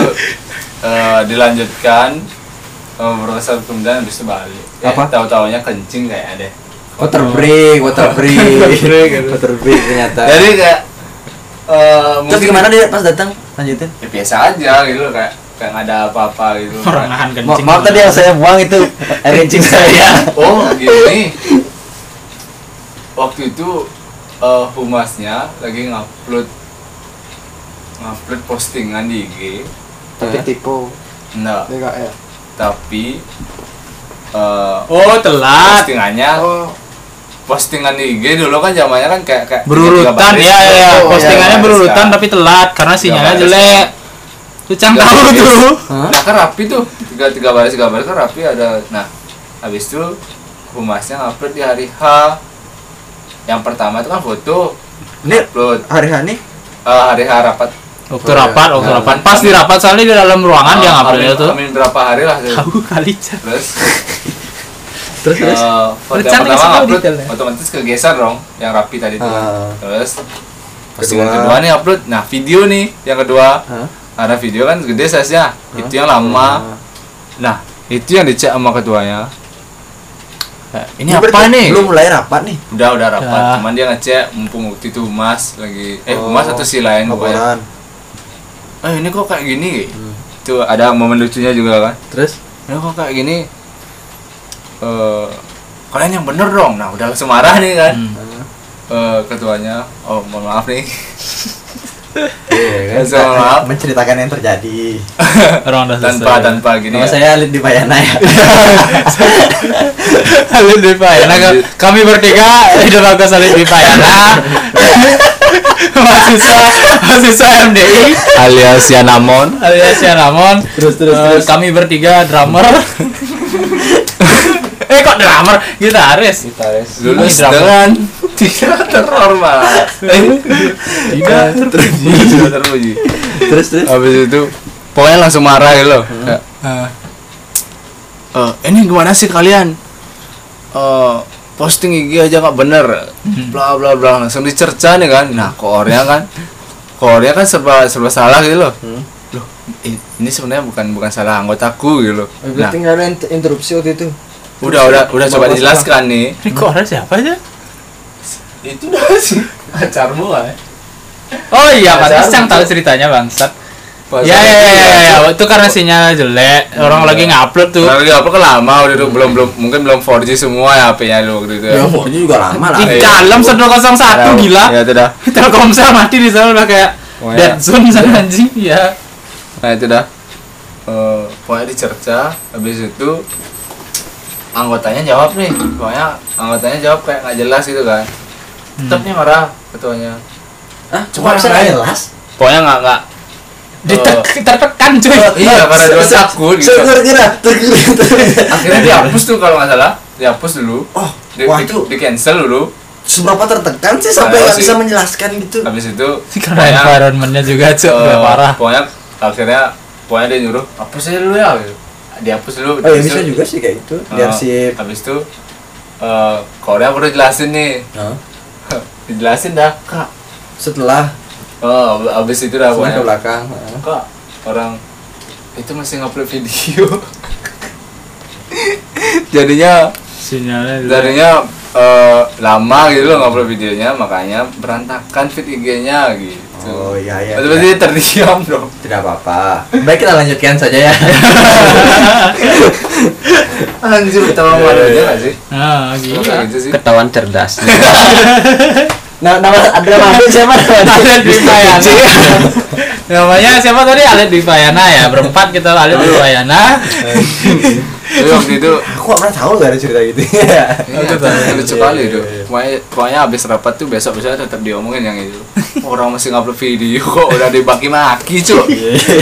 Speaker 3: eh, dilanjutkan eh, proses kemudian habis itu balik Eh,
Speaker 1: Apa?
Speaker 3: tahu-taunya kencing kayak deh
Speaker 1: water break, water break.
Speaker 2: Water break, gitu.
Speaker 1: Water break ternyata.
Speaker 3: jadi kayak eh,
Speaker 1: Terus
Speaker 3: mungkin-
Speaker 1: gimana dia pas datang? Lanjutin.
Speaker 3: ya, biasa aja gitu kayak kayak nggak ada apa-apa gitu
Speaker 2: Orang
Speaker 1: Ma
Speaker 2: nahan kencing.
Speaker 1: maaf tadi yang saya buang itu air kencing saya.
Speaker 3: oh gini waktu itu eh, humasnya lagi ngupload ngupload postingan di IG
Speaker 1: Tapi
Speaker 5: tipu
Speaker 3: nah
Speaker 5: DKR.
Speaker 3: tapi eh,
Speaker 2: Oh, telat.
Speaker 3: postingannya
Speaker 2: Oh.
Speaker 3: postingan di IG dulu kan zamannya kan kayak kayak
Speaker 2: Berurutan ya, ya, ya.
Speaker 3: Oh,
Speaker 2: Postingannya
Speaker 3: iya,
Speaker 2: berurutan
Speaker 3: baris,
Speaker 2: tapi telat karena sinyalnya
Speaker 3: baris.
Speaker 2: jelek. Lu cang
Speaker 3: Tiga
Speaker 2: tahu
Speaker 3: baris.
Speaker 2: tuh.
Speaker 3: kan. nah kan rapi tuh tiga tiga baris tiga baris kan rapi ada nah habis itu humasnya ngupload di hari H yang pertama itu kan foto
Speaker 1: Ini
Speaker 3: upload
Speaker 1: hari hari
Speaker 3: eh, hari H rapat
Speaker 2: Waktu rapat, waktu
Speaker 3: Nah,
Speaker 2: rapat. Ah,
Speaker 3: kan-
Speaker 2: Iya. Pas di rapat soalnya di dalam ruangan dia
Speaker 3: Eh,
Speaker 2: nguploadnya
Speaker 3: amin-
Speaker 2: tuh.
Speaker 3: amin berapa hari lah tuh.
Speaker 2: Tahu kali Cang.
Speaker 3: terus
Speaker 1: terus terus.
Speaker 3: eh, foto yang
Speaker 2: Rencana nggak
Speaker 3: pertama
Speaker 2: sih tahu
Speaker 3: upload
Speaker 2: detailnya?
Speaker 3: otomatis kegeser dong yang rapi tadi tuh
Speaker 1: Ah.
Speaker 3: terus
Speaker 1: Kedua.
Speaker 3: postingan kedua nih upload nah video nih yang kedua
Speaker 1: Hah?
Speaker 3: karena video kan gede size nya itu yang lama nah
Speaker 2: itu yang dicek sama ketuanya Kayak, ini apa
Speaker 1: Berarti
Speaker 2: nih
Speaker 1: Lu mulai rapat nih.
Speaker 3: udah udah rapat
Speaker 2: Udah.
Speaker 3: cuman dia ngecek mumpung waktu itu mas lagi eh
Speaker 1: Oh,
Speaker 3: mas atau si lain pokoknya
Speaker 1: Laporan.
Speaker 3: eh ini kok kayak gini
Speaker 1: Hmm.
Speaker 3: itu ada momen lucunya juga kan
Speaker 1: Terus
Speaker 3: ini kok kayak gini eh kalian yang bener dong nah udah langsung marah nih kan
Speaker 2: Hmm.
Speaker 3: Eh, ketuanya oh mohon maaf nih
Speaker 1: Iya,
Speaker 3: Langsung maaf.
Speaker 1: menceritakan yang terjadi.
Speaker 2: orang udah
Speaker 3: tanpa tanpa gini
Speaker 1: Nama
Speaker 3: ya.
Speaker 1: saya Lid Dipayana ya.
Speaker 2: Salib di Payana Ka- kami bertiga hidup aku salib di Payana mahasiswa mahasiswa MDI
Speaker 4: alias Yanamon
Speaker 2: alias Yan Ramon
Speaker 1: Terus terus
Speaker 2: Eh,
Speaker 1: terus.
Speaker 2: kami bertiga drummer eh kok drummer gitaris gitaris
Speaker 3: lulus dengan tidak terhormat
Speaker 2: tidak
Speaker 3: terpuji tidak terpuji
Speaker 1: Terus terus.
Speaker 3: habis itu pokoknya langsung marah gitu loh Kayak, "Eh, ini gimana sih kalian Eh, posting IG aja nggak bener bla bla bla langsung dicerca nih kan nah korea kan korea kan serba serba salah gitu loh loh i- ini sebenarnya bukan bukan salah anggotaku gitu loh nah
Speaker 1: Berarti nggak ada inter- interupsi waktu itu.
Speaker 3: udah udah udah coba
Speaker 1: Bagus,
Speaker 3: dijelaskan nih
Speaker 2: ini kok ada siapa aja
Speaker 3: itu udah sih pacarmu lah
Speaker 2: oh iya
Speaker 3: Ada
Speaker 2: pantas yang
Speaker 3: siapa?
Speaker 2: tahu ceritanya bangsat ya ya ya ya, ya. itu karena sinyal jelek orang lagi ngupload tuh
Speaker 3: Nah, apa kan lama udah tuh belum belum mungkin belum 4G semua ya HP-nya lu waktu itu. ya.
Speaker 1: Ya, pokoknya juga lama lah.
Speaker 2: di
Speaker 3: Iya.
Speaker 2: dalam 101 gila
Speaker 3: Ya itu dah.
Speaker 2: Telkomsel mati di sana udah kayak
Speaker 3: Wah,
Speaker 2: dead
Speaker 3: ya.
Speaker 2: zone sana anjing ya.
Speaker 3: Nah itu dah. Eh, pokoknya dicerca habis itu anggotanya jawab nih. Pokoknya anggotanya jawab kayak nggak jelas gitu kan.
Speaker 2: Hmm.
Speaker 3: Tetep nih marah ketuanya.
Speaker 1: Hah?
Speaker 3: Cuma
Speaker 1: Cuma
Speaker 3: orang lain.
Speaker 1: saya jelas.
Speaker 3: Pokoknya nggak nggak Eh,
Speaker 2: Ditek tertekan cuy.
Speaker 3: Iya, karena dia takut gitu.
Speaker 1: Saya kira terkira.
Speaker 3: akhirnya dihapus tuh kalau nggak salah dihapus dulu
Speaker 1: Oh,
Speaker 3: di,
Speaker 1: wah
Speaker 3: di-
Speaker 1: itu
Speaker 3: di cancel dulu
Speaker 1: seberapa tertekan sih sampai nggak
Speaker 3: Saya Nah, sih.
Speaker 1: bisa menjelaskan gitu.
Speaker 3: habis itu
Speaker 2: Karena
Speaker 3: pokoknya-
Speaker 2: environmentnya juga cuy udah
Speaker 3: Eh,
Speaker 2: parah.
Speaker 3: Pokoknya akhirnya pokoknya dia nyuruh hapus aja dulu ya gitu. Dihapus dulu.
Speaker 1: Oh ya
Speaker 3: habis
Speaker 1: bisa
Speaker 3: itu-
Speaker 1: juga sih kayak gitu.
Speaker 3: Eh,
Speaker 1: Diarsip.
Speaker 3: Habis itu eh Korea baru jelasin nih.
Speaker 1: Nah,
Speaker 3: Dijelasin dah, Kak.
Speaker 1: setelah
Speaker 3: Oh, ab- habis itu
Speaker 1: setelah
Speaker 3: dah
Speaker 1: ke
Speaker 3: pokoknya.
Speaker 1: belakang. ah.
Speaker 3: Kak, orang itu masih ngupload video. jadinya
Speaker 2: Sinyalnya jelek.
Speaker 3: jadinya eh, lama gitu loh ngupload videonya makanya berantakan feed IG-nya gitu.
Speaker 1: Oh iya iya.
Speaker 3: Terus
Speaker 1: iya.
Speaker 3: dia terdiam dong.
Speaker 1: Tidak apa-apa. Baik kita lanjutkan saja ya.
Speaker 3: Anjir, ketawa malu aja gak sih?
Speaker 2: Nah, gila.
Speaker 3: Lu kayak gitu sih.
Speaker 4: ketahuan cerdas
Speaker 1: Nah, nama ada nama siapa?
Speaker 2: Alet Dwi Payana. Namanya siapa tadi? Alet Dwi Payana ya. Berempat kita Alet Dwi
Speaker 3: Iya,
Speaker 2: Payana.
Speaker 3: Tapi waktu itu
Speaker 1: Aku nggak pernah tahu nggak ada cerita gitu.
Speaker 3: Iya, tapi lucu kali
Speaker 2: Iya,
Speaker 3: itu. Pokoknya, pokoknya abis rapat tuh besok besok tetap diomongin yang itu. Orang masih ngupload video kok udah dibaki-maki
Speaker 2: Iya.
Speaker 3: cuy.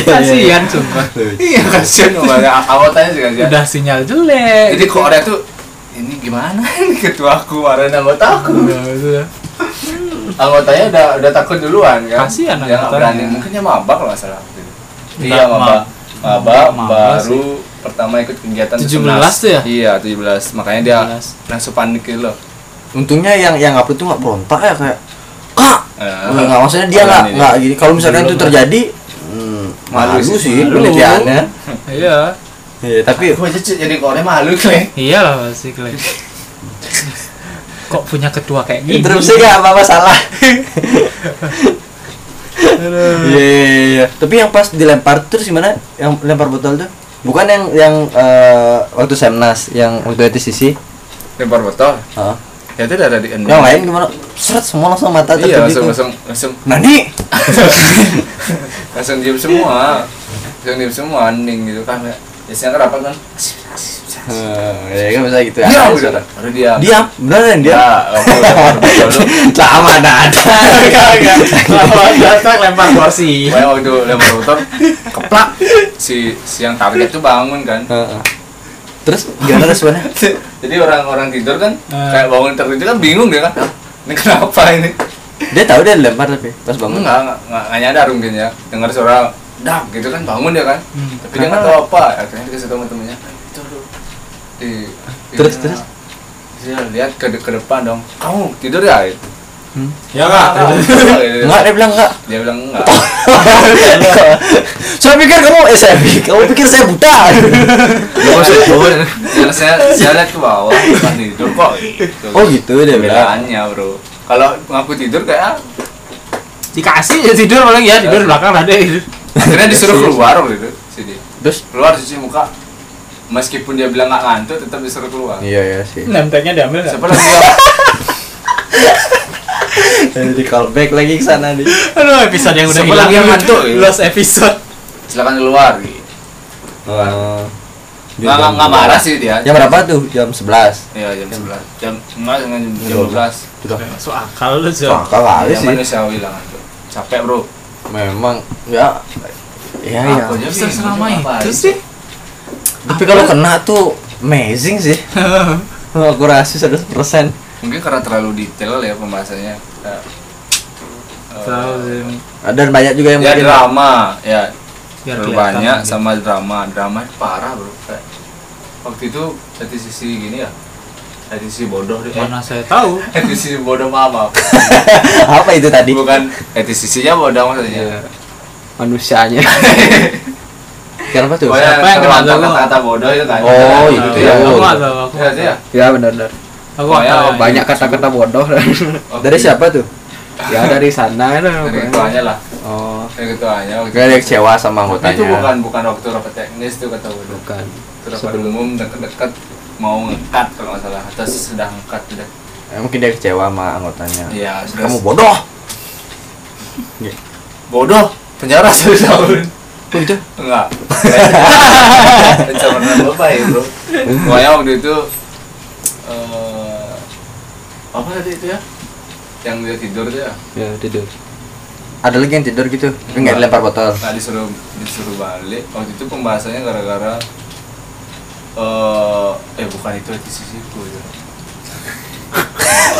Speaker 2: Kasihan sumpah.
Speaker 3: Iya kasian banget. Awalnya juga kasihan.
Speaker 2: Udah sinyal jelek.
Speaker 3: Jadi kok orang tuh ini gimana ini ketua aku marah anggota aku
Speaker 2: Udah, udah.
Speaker 3: anggotanya udah udah takut duluan kan
Speaker 2: Kasihan
Speaker 3: dia nggak
Speaker 2: anggotanya.
Speaker 3: berani mungkin dia mabak kalau nggak salah waktu itu.
Speaker 2: Nggak,
Speaker 3: iya mabak mabak
Speaker 2: Mabak
Speaker 3: baru pertama ikut kegiatan
Speaker 2: 17 tuh ya?
Speaker 3: iya 17 makanya dia
Speaker 2: 17.
Speaker 3: langsung panik gitu loh
Speaker 1: Untungnya yang yang upload tuh nggak berontak ya kayak kak.
Speaker 3: Eh,
Speaker 1: Nggak nggak, maksudnya dia nggak
Speaker 3: ini.
Speaker 1: nggak gini. Kalau misalnya
Speaker 2: Belum
Speaker 1: itu
Speaker 2: lah.
Speaker 1: terjadi, hmm,
Speaker 3: Malu
Speaker 1: malu
Speaker 3: sih.
Speaker 1: sih
Speaker 2: Malu.
Speaker 1: penelitiannya.
Speaker 2: Iya.
Speaker 1: Iya, tapi
Speaker 3: Gue aja Ya, jadi korea malu kle.
Speaker 2: Iyalah Iya pasti kalian. Kok punya ketua kayak gini?
Speaker 1: interupsi nggak apa-apa salah. Iya, iya, iya. Tapi yang pas dilempar terus gimana? Yang lempar botol tuh? Bukan yang yang eh, waktu Semnas, yang waktu itu sisi.
Speaker 3: Lempar botol. Ya itu udah ada di
Speaker 1: Yang lain gimana? Seret semua langsung mata
Speaker 3: Iya
Speaker 1: tertuju tuh.
Speaker 3: langsung
Speaker 1: Nah,
Speaker 3: langsung langsung
Speaker 1: Nani?
Speaker 3: langsung diem semua. Langsung diem semua hening gitu kan. Biasanya kan rapat kan. Iya,
Speaker 1: Eh, ya kan bisa gitu ya.
Speaker 3: Diam.
Speaker 1: suara. Nah.
Speaker 3: Baru diam.
Speaker 1: Diam, beneran dia.
Speaker 3: Ya, waktu lempar botol tuh.
Speaker 1: Lama ada.
Speaker 2: datang lempar kursi.
Speaker 3: Pokoknya waktu lempar botol keplak si si yang target tuh bangun kan.
Speaker 1: Heeh. Terus gimana responnya?
Speaker 3: Jadi orang-orang tidur kan
Speaker 1: Hmm.
Speaker 2: Eh.
Speaker 3: kayak bangun tertidur kan bingung dia kan. Ini kenapa ini?
Speaker 1: Dia tahu dia dilempar tapi pas bangun.
Speaker 3: Enggak, enggak, enggak, enggak nyadar mungkin ya Dengar suara dak gitu kan bangun dia kan
Speaker 2: Hmm.
Speaker 3: Tapi dia nggak tahu apa Akhirnya dikasih tahu sama temennya Itu dulu di, di-
Speaker 1: Terus, terus?
Speaker 3: Dia lihat ke, de- ke depan dong Kamu tidur ya?
Speaker 1: Hmm.
Speaker 2: ya kak
Speaker 1: Enggak, dia bilang enggak.
Speaker 3: Dia bilang enggak.
Speaker 1: saya pikir kamu eh saya pikir, kamu pikir saya buta.
Speaker 3: Ya, saya saya lihat ke bawah bukan tidur kok.
Speaker 1: oh gitu dia bilang.
Speaker 3: Bedaannya bro. Kalau ngaku tidur kayak
Speaker 2: dikasih ya tidur paling ya
Speaker 3: Iya.
Speaker 2: tidur di belakang ada
Speaker 3: akhirnya disuruh
Speaker 1: Iya,
Speaker 3: keluar waktu itu sini.
Speaker 6: Terus?
Speaker 3: keluar cuci muka. Meskipun dia bilang nggak ngantuk, tetap disuruh keluar.
Speaker 6: iya iya sih
Speaker 2: nemteknya diambil nggak?
Speaker 3: Siapa lagi yang-
Speaker 1: Jadi call back lagi ke sana nih.
Speaker 2: aduh episode yang udah
Speaker 3: Siapa
Speaker 2: hilang
Speaker 3: lagi yang ngantuk?
Speaker 2: lost episode
Speaker 3: silakan keluar. gitu.
Speaker 1: Oh.
Speaker 3: Nggak nggak- nggak marah sih dia.
Speaker 1: Jam berapa tuh? Jam 11.
Speaker 3: Iya jam sebelas. Jam nggak dengan jam
Speaker 6: Jam
Speaker 3: jam belas. Iya,
Speaker 2: masuk akal lu Jo
Speaker 1: Kakak kali
Speaker 3: Yang
Speaker 1: sih. Eh,
Speaker 3: manusiawi lah ngantuk. Capek bro.
Speaker 6: memang ya
Speaker 1: Iya,
Speaker 6: ya ya
Speaker 3: Aku aja
Speaker 2: Bisa
Speaker 3: bingung,
Speaker 2: selama
Speaker 3: jam apa
Speaker 2: itu
Speaker 3: hari.
Speaker 2: sih
Speaker 1: Tapi kalau kena tuh amazing sih. Akurasi 100%.
Speaker 3: Mungkin karena terlalu detail ya pembahasannya. Eh, eh,
Speaker 2: Tahu sih,
Speaker 1: Ada banyak juga yang
Speaker 3: ya
Speaker 1: mungkin-
Speaker 3: drama ya
Speaker 2: biar
Speaker 3: terlalu
Speaker 2: kelihatan
Speaker 3: banyak
Speaker 2: gitu.
Speaker 3: sama drama drama itu parah bro kayak waktu itu dari sisi gini ya dari sisi bodoh deh
Speaker 2: mana saya tahu
Speaker 3: dari sisi bodoh maaf maaf
Speaker 1: Apa itu tadi?
Speaker 3: bukan dari sisinya bodoh maksudnya
Speaker 4: manusianya
Speaker 2: Iya.
Speaker 1: Kenapa tuh?
Speaker 3: Pokoknya
Speaker 2: Siapa yang
Speaker 3: terlantar
Speaker 2: kenal dulu?
Speaker 3: kata-kata bodoh itu kan
Speaker 1: Oh,
Speaker 2: Tahu.
Speaker 1: itu
Speaker 3: ya.
Speaker 2: aku nggak tahu aku
Speaker 3: Iya,
Speaker 2: nggak
Speaker 3: itu ya
Speaker 4: ya benar benar
Speaker 2: tahu. aku
Speaker 3: Oh, ya,
Speaker 2: nggak tahu.
Speaker 4: banyak kata-kata bodoh
Speaker 3: Oke.
Speaker 1: Dari siapa tuh?
Speaker 4: ya dari sana lah,
Speaker 3: dari
Speaker 4: pokoknya.
Speaker 3: ketuanya lah
Speaker 1: Oh.
Speaker 3: dari ketuanya waktu
Speaker 6: gak ada yang kecewa sama
Speaker 3: Tapi itu
Speaker 6: anggotanya
Speaker 3: bukan bukan waktu rapat teknis itu kata bodoh
Speaker 4: bukan
Speaker 3: itu rapat umum dekat-dekat mau ngekat kalau nggak salah atau sedang ngekat sudah
Speaker 1: Eh,
Speaker 6: Ya, mungkin dia kecewa sama anggotanya
Speaker 1: Iya,
Speaker 3: ya sudah
Speaker 6: kamu bodoh
Speaker 3: bodoh penjara satu tahun enggak pencemaran apa ya bro pokoknya waktu itu eh apa tadi itu ya yang dia tidur tuh ya
Speaker 4: ya tidur
Speaker 1: Ada lagi yang tidur gitu. Tapi enggak dilempar botol.
Speaker 3: nah disuruh disuruh balik waktu itu pembahasannya gara-gara eh eh bukan itu di sisiku ya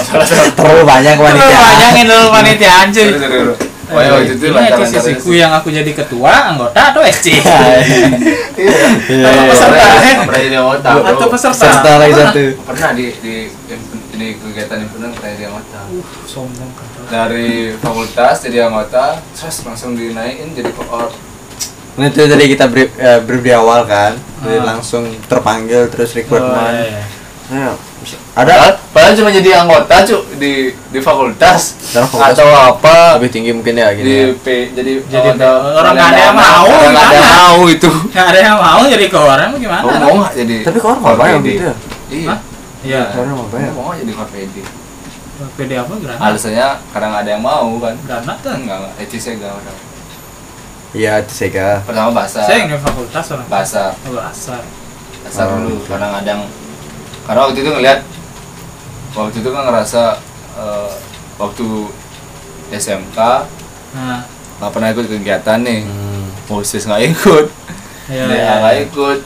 Speaker 3: salah salah
Speaker 1: Terlalu banyak
Speaker 2: Terlalu
Speaker 1: wanita.
Speaker 2: banyak ini dulu panitia anjir
Speaker 3: Sorry, sorry, bro. gitu. Pokoknya waktu itu
Speaker 2: ini
Speaker 3: lantaran
Speaker 2: itu
Speaker 3: karena-
Speaker 2: sisiku yang aku jadi ketua anggota atau SC atau peserta eh.
Speaker 3: Iya, Pernah jadi anggota, bro.
Speaker 2: atau peserta
Speaker 1: Serta lagi satu.
Speaker 3: pernah di di di- di kegiatan himpunan pernah jadi anggota
Speaker 2: sombong kata
Speaker 3: dari fakultas jadi anggota terus langsung dinaikin jadi koor
Speaker 1: Nah, itu tadi kita brief, eh, brief di awal kan. Jadi langsung terpanggil terus
Speaker 2: Oh, iya,
Speaker 1: recruitment. Nah,
Speaker 3: padahal,
Speaker 1: ada
Speaker 3: padahal cuma jadi anggota cuk di di fakultas
Speaker 1: Dalam fakultas.
Speaker 3: atau apa
Speaker 1: lebih tinggi mungkin ya
Speaker 3: di
Speaker 1: gini.
Speaker 3: P, jadi
Speaker 2: Iya. Jadi
Speaker 3: anggota-
Speaker 2: orang nggak ada yang mau,
Speaker 3: orang nggak ada yang
Speaker 2: gimana?
Speaker 3: mau itu
Speaker 2: nggak ada yang mau jadi koran gimana
Speaker 3: mau mau nggak jadi
Speaker 1: Tapi kok orang banyak
Speaker 3: PD?
Speaker 1: gitu ya?
Speaker 3: iya
Speaker 2: Hah? iya
Speaker 1: Orang apa ya?
Speaker 3: mau nggak jadi korpd
Speaker 2: PD apa granat
Speaker 3: alasannya kadang nggak ada yang mau kan
Speaker 2: granat kan
Speaker 3: enggak enggak etisnya enggak orang
Speaker 1: Iya, itu Sega.
Speaker 3: ya, pertama bahasa
Speaker 2: saya yang di fakultas orang Oh,
Speaker 3: bahasa
Speaker 2: Kalau asal
Speaker 3: dasar
Speaker 1: Oh,
Speaker 3: dulu karena kadang karena waktu itu ngeliat waktu itu kan ngerasa eh, waktu SMK
Speaker 2: nah
Speaker 3: nggak pernah ikut kegiatan nih
Speaker 1: Hmm.
Speaker 3: Moses nggak ikut
Speaker 2: ya,
Speaker 3: Dea
Speaker 2: ya.
Speaker 3: nggak ikut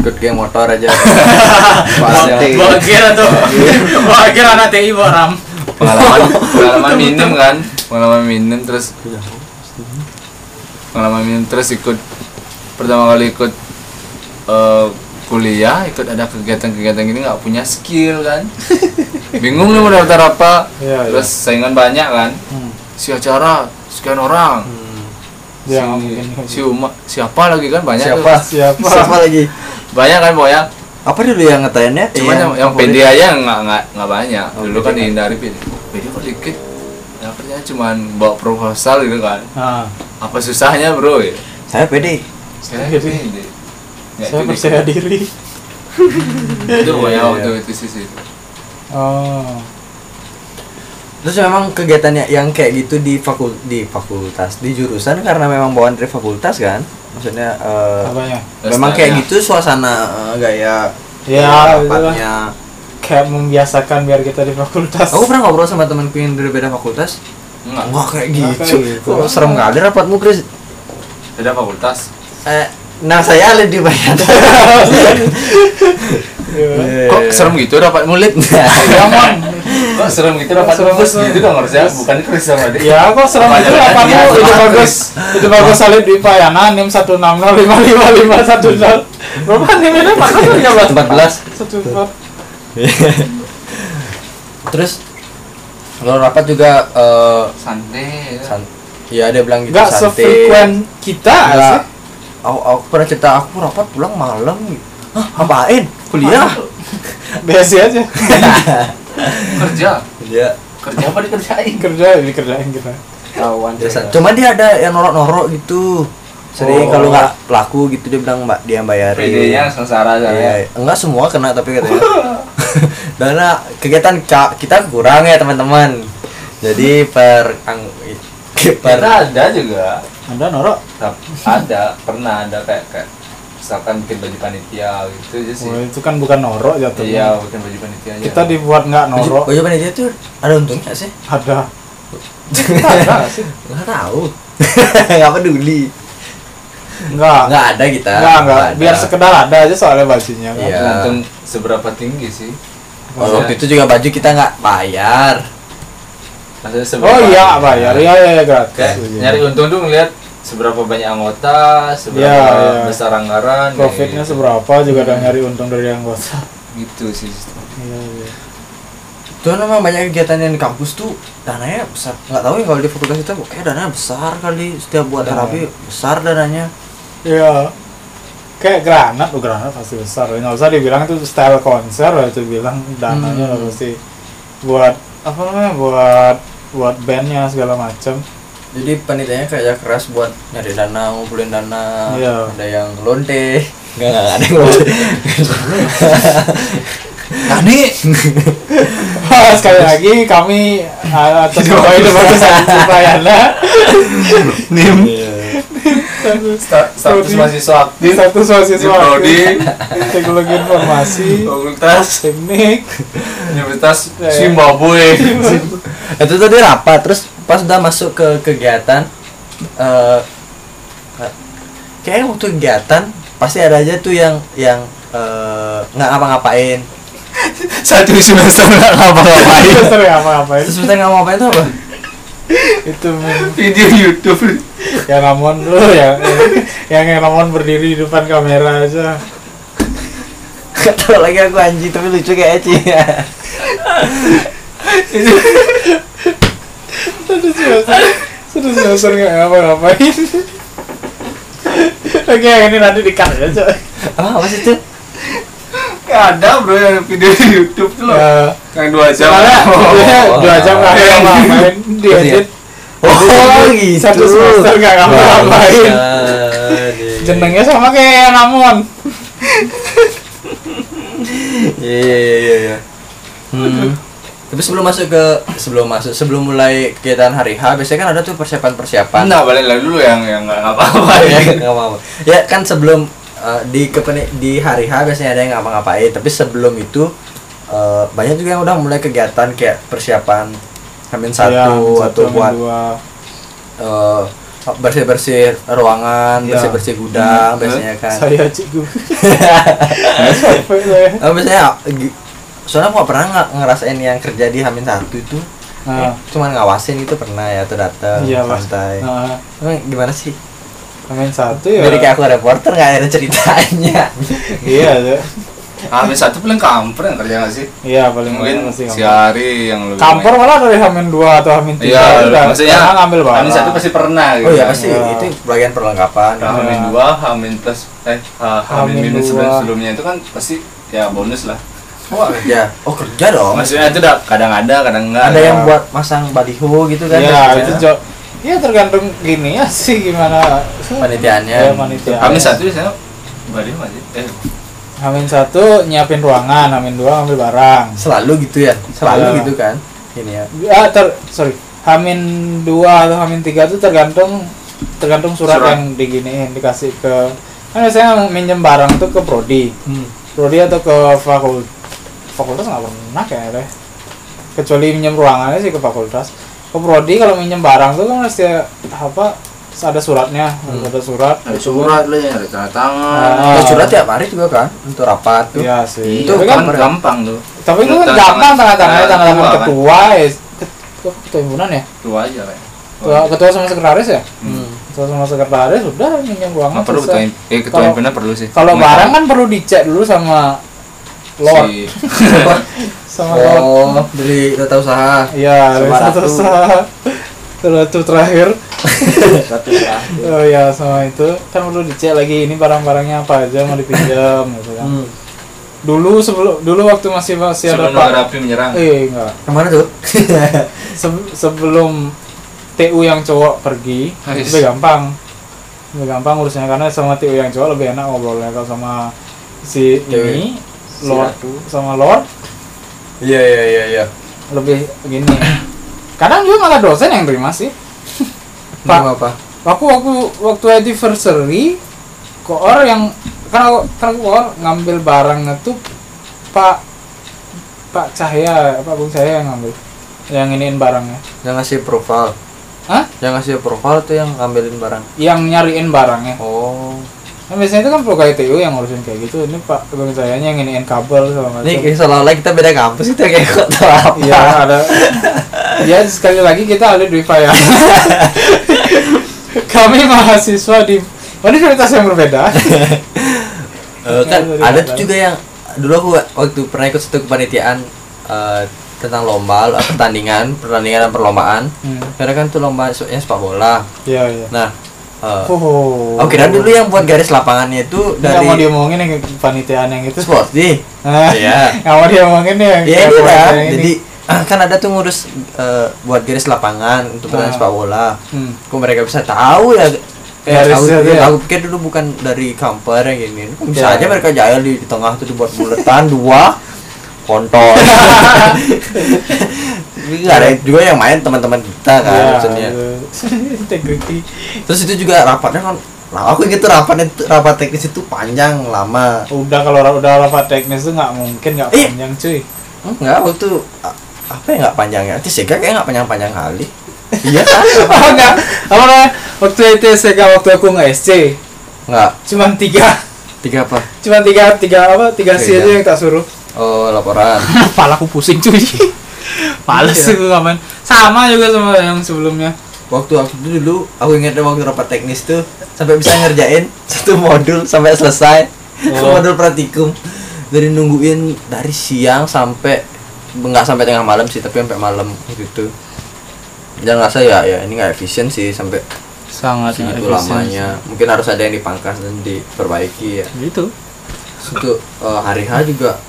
Speaker 1: Ikut geng motor aja.
Speaker 2: Bawa-
Speaker 1: Pasti.
Speaker 2: bawa gear atau bawa gear anak TI bawa ram
Speaker 3: pengalaman pengalaman minim kan pengalaman minim terus pengalaman minim terus ikut pertama kali ikut eh, kuliah ikut ada kegiatan-kegiatan gini nggak punya skill kan bingung nih mau daftar apa terus saingan banyak kan si acara sekian orang si, si Uma- siapa lagi kan banyak
Speaker 1: Siapa?
Speaker 3: tuh.
Speaker 1: Siapa? Siapa lagi?
Speaker 3: banyak kan pokoknya
Speaker 1: Apa dulu yang ngetainnya?
Speaker 3: cuman yang, yang PD Iya, aja nggak nggak nggak banyak
Speaker 1: Oh,
Speaker 3: dulu
Speaker 1: PD
Speaker 3: kan
Speaker 1: kan.
Speaker 3: dihindari PD PD kok dikit ya kerjanya cuman bawa proposal gitu kan
Speaker 2: nah
Speaker 3: apa susahnya bro ya
Speaker 1: Saya PD.
Speaker 3: saya PD Ya, itu dikit.
Speaker 2: diri
Speaker 3: itu pokoknya
Speaker 1: Iya, iya.
Speaker 3: waktu itu sih itu
Speaker 2: oh
Speaker 1: Terus memang kegiatannya yang kayak gitu di fakul di fakultas, di jurusan karena memang bawaan dari fakultas kan. Maksudnya eh,
Speaker 2: apanya
Speaker 1: memang kayak
Speaker 3: Lestarinya.
Speaker 1: gitu suasana eh, gaya
Speaker 2: Ya, itulah.
Speaker 1: rapatnya.
Speaker 2: kayak membiasakan biar kita di fakultas
Speaker 1: Aku pernah ngobrol sama temanku yang dari beda fakultas.
Speaker 3: enggak
Speaker 1: Enggak kayak
Speaker 2: Nggak
Speaker 1: gitu.
Speaker 2: kayak gitu.
Speaker 1: Kok serem kali rapatmu, Chris?
Speaker 3: ada fakultas
Speaker 1: Eh, nah saya lebih banyak. Eh.
Speaker 3: kok serem gitu dapat mulut ya mon kok serem gitu dapat
Speaker 2: Serem,
Speaker 3: mulut
Speaker 2: serem.
Speaker 3: gitu dong harusnya bukan Chris sama dia
Speaker 1: Iya.
Speaker 2: Ya, kok serem itu
Speaker 3: Kebanyakan
Speaker 2: apa
Speaker 3: dia
Speaker 2: lu? Itu
Speaker 3: serem.
Speaker 2: bagus. Itu bagus salib di Payana NIM 160555510. Berapa NIM-nya Pak?
Speaker 1: 14.
Speaker 2: 14.
Speaker 1: Terus Kalau rapat juga eh
Speaker 3: santai ya.
Speaker 1: san- ya dia bilang gitu
Speaker 2: Gak
Speaker 1: santai.
Speaker 2: sefrekuen kita
Speaker 1: Nggak.
Speaker 2: asik.
Speaker 1: Aku, aku pernah cerita aku rapat pulang malam. gitu. Hah, ngapain? Kuliah.
Speaker 2: Besi aja.
Speaker 3: kerja
Speaker 1: Iya.
Speaker 3: kerja apa dikerjain
Speaker 2: Kerja dikerjain kita.
Speaker 4: Kawan.
Speaker 1: Biasa. Iya. Cuma dia ada yang norok-norok gitu. Sering
Speaker 2: Oh.
Speaker 1: kalau nggak pelaku gitu dia bilang mbak dia yang bayarin.
Speaker 3: PD-nya sengsara aja ya.
Speaker 1: Iya, enggak semua kena tapi katanya. Karena kegiatan ka- kita kurang ya teman-teman. Jadi per ang per
Speaker 3: Pernah ada juga
Speaker 2: Anda norok?
Speaker 3: Tap- ada pernah ada kayak kayak misalkan bikin baju panitia gitu aja sih
Speaker 2: Wah, itu kan bukan norok jatuhnya.
Speaker 3: iya bikin baju panitia aja
Speaker 2: Kita dibuat nggak
Speaker 1: baju,
Speaker 2: norok.
Speaker 1: baju panitia iya, tuh ada untungnya sih.
Speaker 2: Ada.
Speaker 1: Enggak tahu. Enggak peduli.
Speaker 2: Nggak.
Speaker 1: Enggak ada kita.
Speaker 2: Nggak, nggak.
Speaker 1: ada.
Speaker 2: Biar sekedar ada aja soalnya bajunya. kan.
Speaker 1: Iya.
Speaker 3: tergantung seberapa tinggi sih
Speaker 1: Kalau waktu itu juga baju kita nggak bayar.
Speaker 3: maksudnya seberapa
Speaker 2: Oh iya, bayar. Iya, iya, iya, gratis.
Speaker 3: kayak
Speaker 2: Iya.
Speaker 3: nyari untung tuh ngeliat seberapa banyak anggota seberapa
Speaker 2: Iya, iya.
Speaker 3: besar anggaran kayak
Speaker 2: Profitnya
Speaker 3: gitu.
Speaker 2: seberapa juga udah nyari untung dari anggota.
Speaker 3: gitu sih
Speaker 2: Iya, iya.
Speaker 1: Tuh memang banyak kegiatan yang di kampus tuh dananya besar. Nggak tahu ya kalau di fakultas kita kayak dananya besar kali setiap buat
Speaker 2: Dana.
Speaker 1: terapi besar dananya.
Speaker 2: Iya. Kayak granat, oh granat pasti besar. Nggak usah dibilang itu style konser, ya, itu bilang dananya udah pasti buat apa namanya buat buat bandnya segala macam.
Speaker 1: Jadi panitianya kerja keras buat nyari dana, ngumpulin dana.
Speaker 2: Iya.
Speaker 1: Ada yang lonte. Enggak, enggak ada yang lonte.
Speaker 3: Tadi
Speaker 2: Sekali lagi kami uh, atas nama hidup bagus Payana
Speaker 3: status mahasiswa
Speaker 2: di satu
Speaker 3: aktif di
Speaker 2: mahasiswa
Speaker 3: prodi
Speaker 2: teknologi informasi
Speaker 3: fakultas
Speaker 2: teknik
Speaker 3: universitas
Speaker 2: Iya.
Speaker 3: Zimbabwe
Speaker 1: Itu tadi rapat, terus pas udah masuk ke kegiatan eh kayaknya waktu kegiatan pasti ada aja tuh yang yang eh, nggak ngapa-ngapain.
Speaker 3: satu semester nggak ngapa-ngapain
Speaker 2: Terus apa ngapain
Speaker 1: Terus sebentar nggak ngapa-ngapain itu apa?
Speaker 2: itu men-
Speaker 3: video YouTube
Speaker 2: yang Ramon dulu ya yang yang Ramon berdiri di depan kamera aja
Speaker 1: Gak tau lagi aku anjing tapi lucu kayak Eci
Speaker 2: terus semester terus ya, semester nggak ngapa ngapain oke ini nanti di cut ya, aja
Speaker 1: Apa apa sih itu?
Speaker 3: Nggak ada bro yang video di YouTube tuh loh
Speaker 2: ya
Speaker 3: yang dua jam
Speaker 2: soalnya soalnya dua jam nggak ngapa ngapain diedit
Speaker 1: ya? Oh gitu
Speaker 2: satu semester nggak ngapa ngapain jenengnya sama kayak Ramon
Speaker 1: Iya iya iya iya Hmm tapi sebelum masuk ke sebelum masuk sebelum mulai kegiatan hari H biasanya kan ada tuh persiapan-persiapan.
Speaker 2: Nah,
Speaker 3: Nggak, balik lagi dulu yang yang nggak
Speaker 1: ya,
Speaker 3: ngapa-ngapain
Speaker 1: nggak apa-apa. Ya kan sebelum eh, di kepeni, di hari H biasanya ada yang ngapa-ngapain, tapi sebelum itu eh, banyak juga yang udah mulai kegiatan kayak persiapan Hamin satu
Speaker 2: Iya,
Speaker 1: atau
Speaker 2: Hamin
Speaker 1: buat
Speaker 2: dua.
Speaker 1: eh, bersih-bersih ruangan,
Speaker 2: Iya.
Speaker 1: bersih-bersih gudang
Speaker 3: Hmm.
Speaker 1: biasanya kan.
Speaker 2: saya cikgu Capek saya
Speaker 1: Eh, biasanya gi- soalnya aku nggak pernah nggak ngerasain yang kerja di Hamin satu itu.
Speaker 2: nah
Speaker 1: Cuman ngawasin itu pernah ya atau datang
Speaker 2: iya mas
Speaker 1: santai.
Speaker 2: nah,
Speaker 1: Emang gimana sih?
Speaker 2: main satu ya
Speaker 1: Jadi kayak aku reporter nggak ada ceritanya.
Speaker 2: iya ya
Speaker 3: Habis satu paling kampret yang kerja nggak sih?
Speaker 2: iya paling
Speaker 3: Mungkin
Speaker 2: masih kampor
Speaker 3: sehari yang lebih
Speaker 2: kampor malah dari hamin dua atau hamin tiga
Speaker 3: Iya,
Speaker 2: udah,
Speaker 3: maksudnya
Speaker 2: karena ngambil barang
Speaker 3: Hamin satu pasti pernah gitu
Speaker 1: Oh iya
Speaker 3: kan.
Speaker 1: pasti
Speaker 2: Iya.
Speaker 1: itu bagian perlengkapan.
Speaker 3: Nah, Hamin
Speaker 2: Iya.
Speaker 3: dua, Hamin plus eh ha-
Speaker 2: Hamin
Speaker 3: Hamin
Speaker 2: dua.
Speaker 3: minus sebelum sebelumnya itu kan pasti ya bonus lah
Speaker 1: Oh kerja. Oh kerja dong.
Speaker 3: Maksudnya itu udah kadang ada, kadang enggak
Speaker 1: ada yang buat masang baliho gitu kan?
Speaker 2: iya
Speaker 1: biasanya.
Speaker 2: itu jo iya tergantung gini ya sih gimana
Speaker 1: Panitiaannya.
Speaker 2: ya, panitia
Speaker 3: Hamin satu biasanya Badi mah sih? Eh,
Speaker 2: hamin satu nyiapin ruangan hamin dua ngambil barang
Speaker 1: Selalu gitu ya. Selalu
Speaker 2: Iya.
Speaker 1: gitu kan? Ini ya.
Speaker 2: ah ter sorry hamin dua atau hamin tiga itu tergantung tergantung surat,
Speaker 3: Surat.
Speaker 2: yang diginiin dikasih ke kan biasanya minjem barang tuh ke prodi
Speaker 1: Hmm.
Speaker 2: prodi atau ke fakultas fakultas nggak pernah kayaknya deh. kecuali minjem ruangannya sih ke fakultas ke prodi kalau minjem barang tuh kan mesti apa ada suratnya harus ada surat
Speaker 3: ada surat lah ya, ada tanda tangan
Speaker 2: Ah,
Speaker 1: Terus surat tiap hari juga kan untuk rapat tuh.
Speaker 2: iya sih
Speaker 3: Itu
Speaker 2: tapi
Speaker 3: kan
Speaker 2: kan
Speaker 3: gampang tuh
Speaker 2: tapi itu kan
Speaker 3: Tanda
Speaker 2: gampang
Speaker 3: tangan-
Speaker 2: tanda tangannya tanda
Speaker 3: tanda
Speaker 2: tangan
Speaker 3: tangan
Speaker 2: ketua ya Ket- ketua ketua himpunan ya
Speaker 3: Dua aja kayak
Speaker 2: ketua, ketua sama sekretaris ya
Speaker 3: Oh, Hmm.
Speaker 2: ketua sama sekretaris udah minjem ruangan
Speaker 3: Nggak perlu ketua
Speaker 2: selesai.
Speaker 3: im- eh ketua
Speaker 2: Kalau-
Speaker 3: himpunan perlu sih.
Speaker 2: kalau
Speaker 3: Nggak
Speaker 2: barang kan perlu dicek dulu sama
Speaker 3: tahu.
Speaker 2: lord
Speaker 3: Si-
Speaker 2: sama laut.
Speaker 1: Oh, dari tata usaha.
Speaker 2: Iya,
Speaker 1: sama
Speaker 2: satu
Speaker 1: ratu.
Speaker 2: usaha. Terus terakhir.
Speaker 4: Satu lah.
Speaker 2: Oh iya sama itu kan perlu dicek lagi ini barang-barangnya apa aja mau dipinjam gitu kan. Dulu sebelum dulu waktu masih masih ada
Speaker 3: Hmm. Sebelum
Speaker 2: Pak.
Speaker 3: negara api menyerang.
Speaker 2: Eh enggak.
Speaker 1: Kemana tuh?
Speaker 2: Se- sebelum TU yang cowok pergi
Speaker 3: Nice.
Speaker 2: lebih gampang. Lebih gampang urusannya karena sama TU yang cowok lebih enak ngobrolnya kalau sama si
Speaker 1: Dewi.
Speaker 2: ini Lord sama Lord
Speaker 1: Iya iya iya iya.
Speaker 2: lebih gini. Kadang juga malah dosen yang terima sih. Pak,
Speaker 1: Pak apa?
Speaker 2: aku waktu waktu anniversary koor yang kan aku kan aku koor ngambil barangnya tuh pak pak cahya pak bung cahya yang ngambil yang iniin barangnya
Speaker 1: Yang ngasih profile.
Speaker 2: Hah?
Speaker 1: Yang ngasih profile tuh yang ngambilin barang.
Speaker 2: yang nyariin barangnya
Speaker 1: Oh.
Speaker 2: kan biasanya itu kan pro KTU yang ngurusin kayak gitu ini pak bung cahayanya yang iniin kabel
Speaker 1: Ini gitu,
Speaker 2: sama macam
Speaker 1: kayak seolah-olah kita beda kampus kita kayak kok tau apa.
Speaker 2: iya ada ya sekali lagi kita alih Dwi ya kami mahasiswa di universitas yang berbeda
Speaker 1: Eh, kan
Speaker 2: Iya, dari
Speaker 1: ada tuh
Speaker 2: Padang.
Speaker 1: juga yang dulu aku waktu pernah ikut satu kepanitiaan eh, tentang lomba eh, pertandingan pertandingan dan perlombaan
Speaker 2: hmm.
Speaker 1: karena kan tuh lomba se- yang sepak bola
Speaker 2: iya iya
Speaker 1: nah eh,
Speaker 2: Oh.
Speaker 1: aku kira dulu yang buat garis lapangannya itu
Speaker 2: Nggak mau
Speaker 1: dari
Speaker 2: diomongin yang panitiaan yang itu.
Speaker 1: sport nih
Speaker 2: Hah?
Speaker 1: Iya.
Speaker 2: Nggak mau diomongin yang
Speaker 1: ya
Speaker 2: yang
Speaker 1: ini lah
Speaker 2: panitiaan yang
Speaker 1: jadi ah, kan ada tuh ngurus eh, buat garis lapangan untuk pertandingan
Speaker 2: Ah.
Speaker 1: sepak bola
Speaker 2: Hmm.
Speaker 1: kok mereka bisa tahu ya kayak tahu
Speaker 2: Garisnya
Speaker 1: gitu.
Speaker 2: tuh ya.
Speaker 1: aku pikir dulu bukan dari kampar yang ini Kok bisa
Speaker 2: Ya.
Speaker 1: aja mereka jahil di, di tengah tuh dibuat buletan dua kontol Gak ada juga yang main teman-teman kita kan
Speaker 2: Iya,
Speaker 1: maksudnya
Speaker 2: gitu. Integrity.
Speaker 1: terus itu juga rapatnya kan nah, aku gitu rapatnya tuh- rapat teknis itu panjang lama
Speaker 2: Udah kalau ra- udah rapat teknis tuh nggak mungkin nggak
Speaker 1: Iya.
Speaker 2: panjang cuy.
Speaker 1: enggak aku tuh a- apa yang nggak panjangnya itu sih kayak nggak panjang-panjang kali iya kan
Speaker 2: Oh nggak. Apa namanya? Waktu itu SK waktu aku nggak SC.
Speaker 1: nggak
Speaker 2: Cuman tiga.
Speaker 1: tiga apa
Speaker 2: Cuman tiga tiga apa tiga
Speaker 1: Iya.
Speaker 2: C aja yang tak suruh.
Speaker 1: oh laporan
Speaker 2: Kepala aku pusing cuy. Males
Speaker 1: Iya.
Speaker 2: aku ngamen. Sama juga sama yang sebelumnya.
Speaker 1: waktu aku tuh dulu aku ingat waktu rapat teknis tuh sampai bisa ngerjain satu modul sampai selesai
Speaker 2: Oh.
Speaker 1: modul praktikum dari nungguin dari siang sampai nggak sampai tengah malam sih tapi sampai malam gitu dan rasa ya ya ini nggak efisien sih sampai
Speaker 2: Sangat
Speaker 1: segitu lamanya mungkin harus ada yang dipangkas dan diperbaiki ya
Speaker 2: Gitu.
Speaker 1: Terus itu eh, hari H juga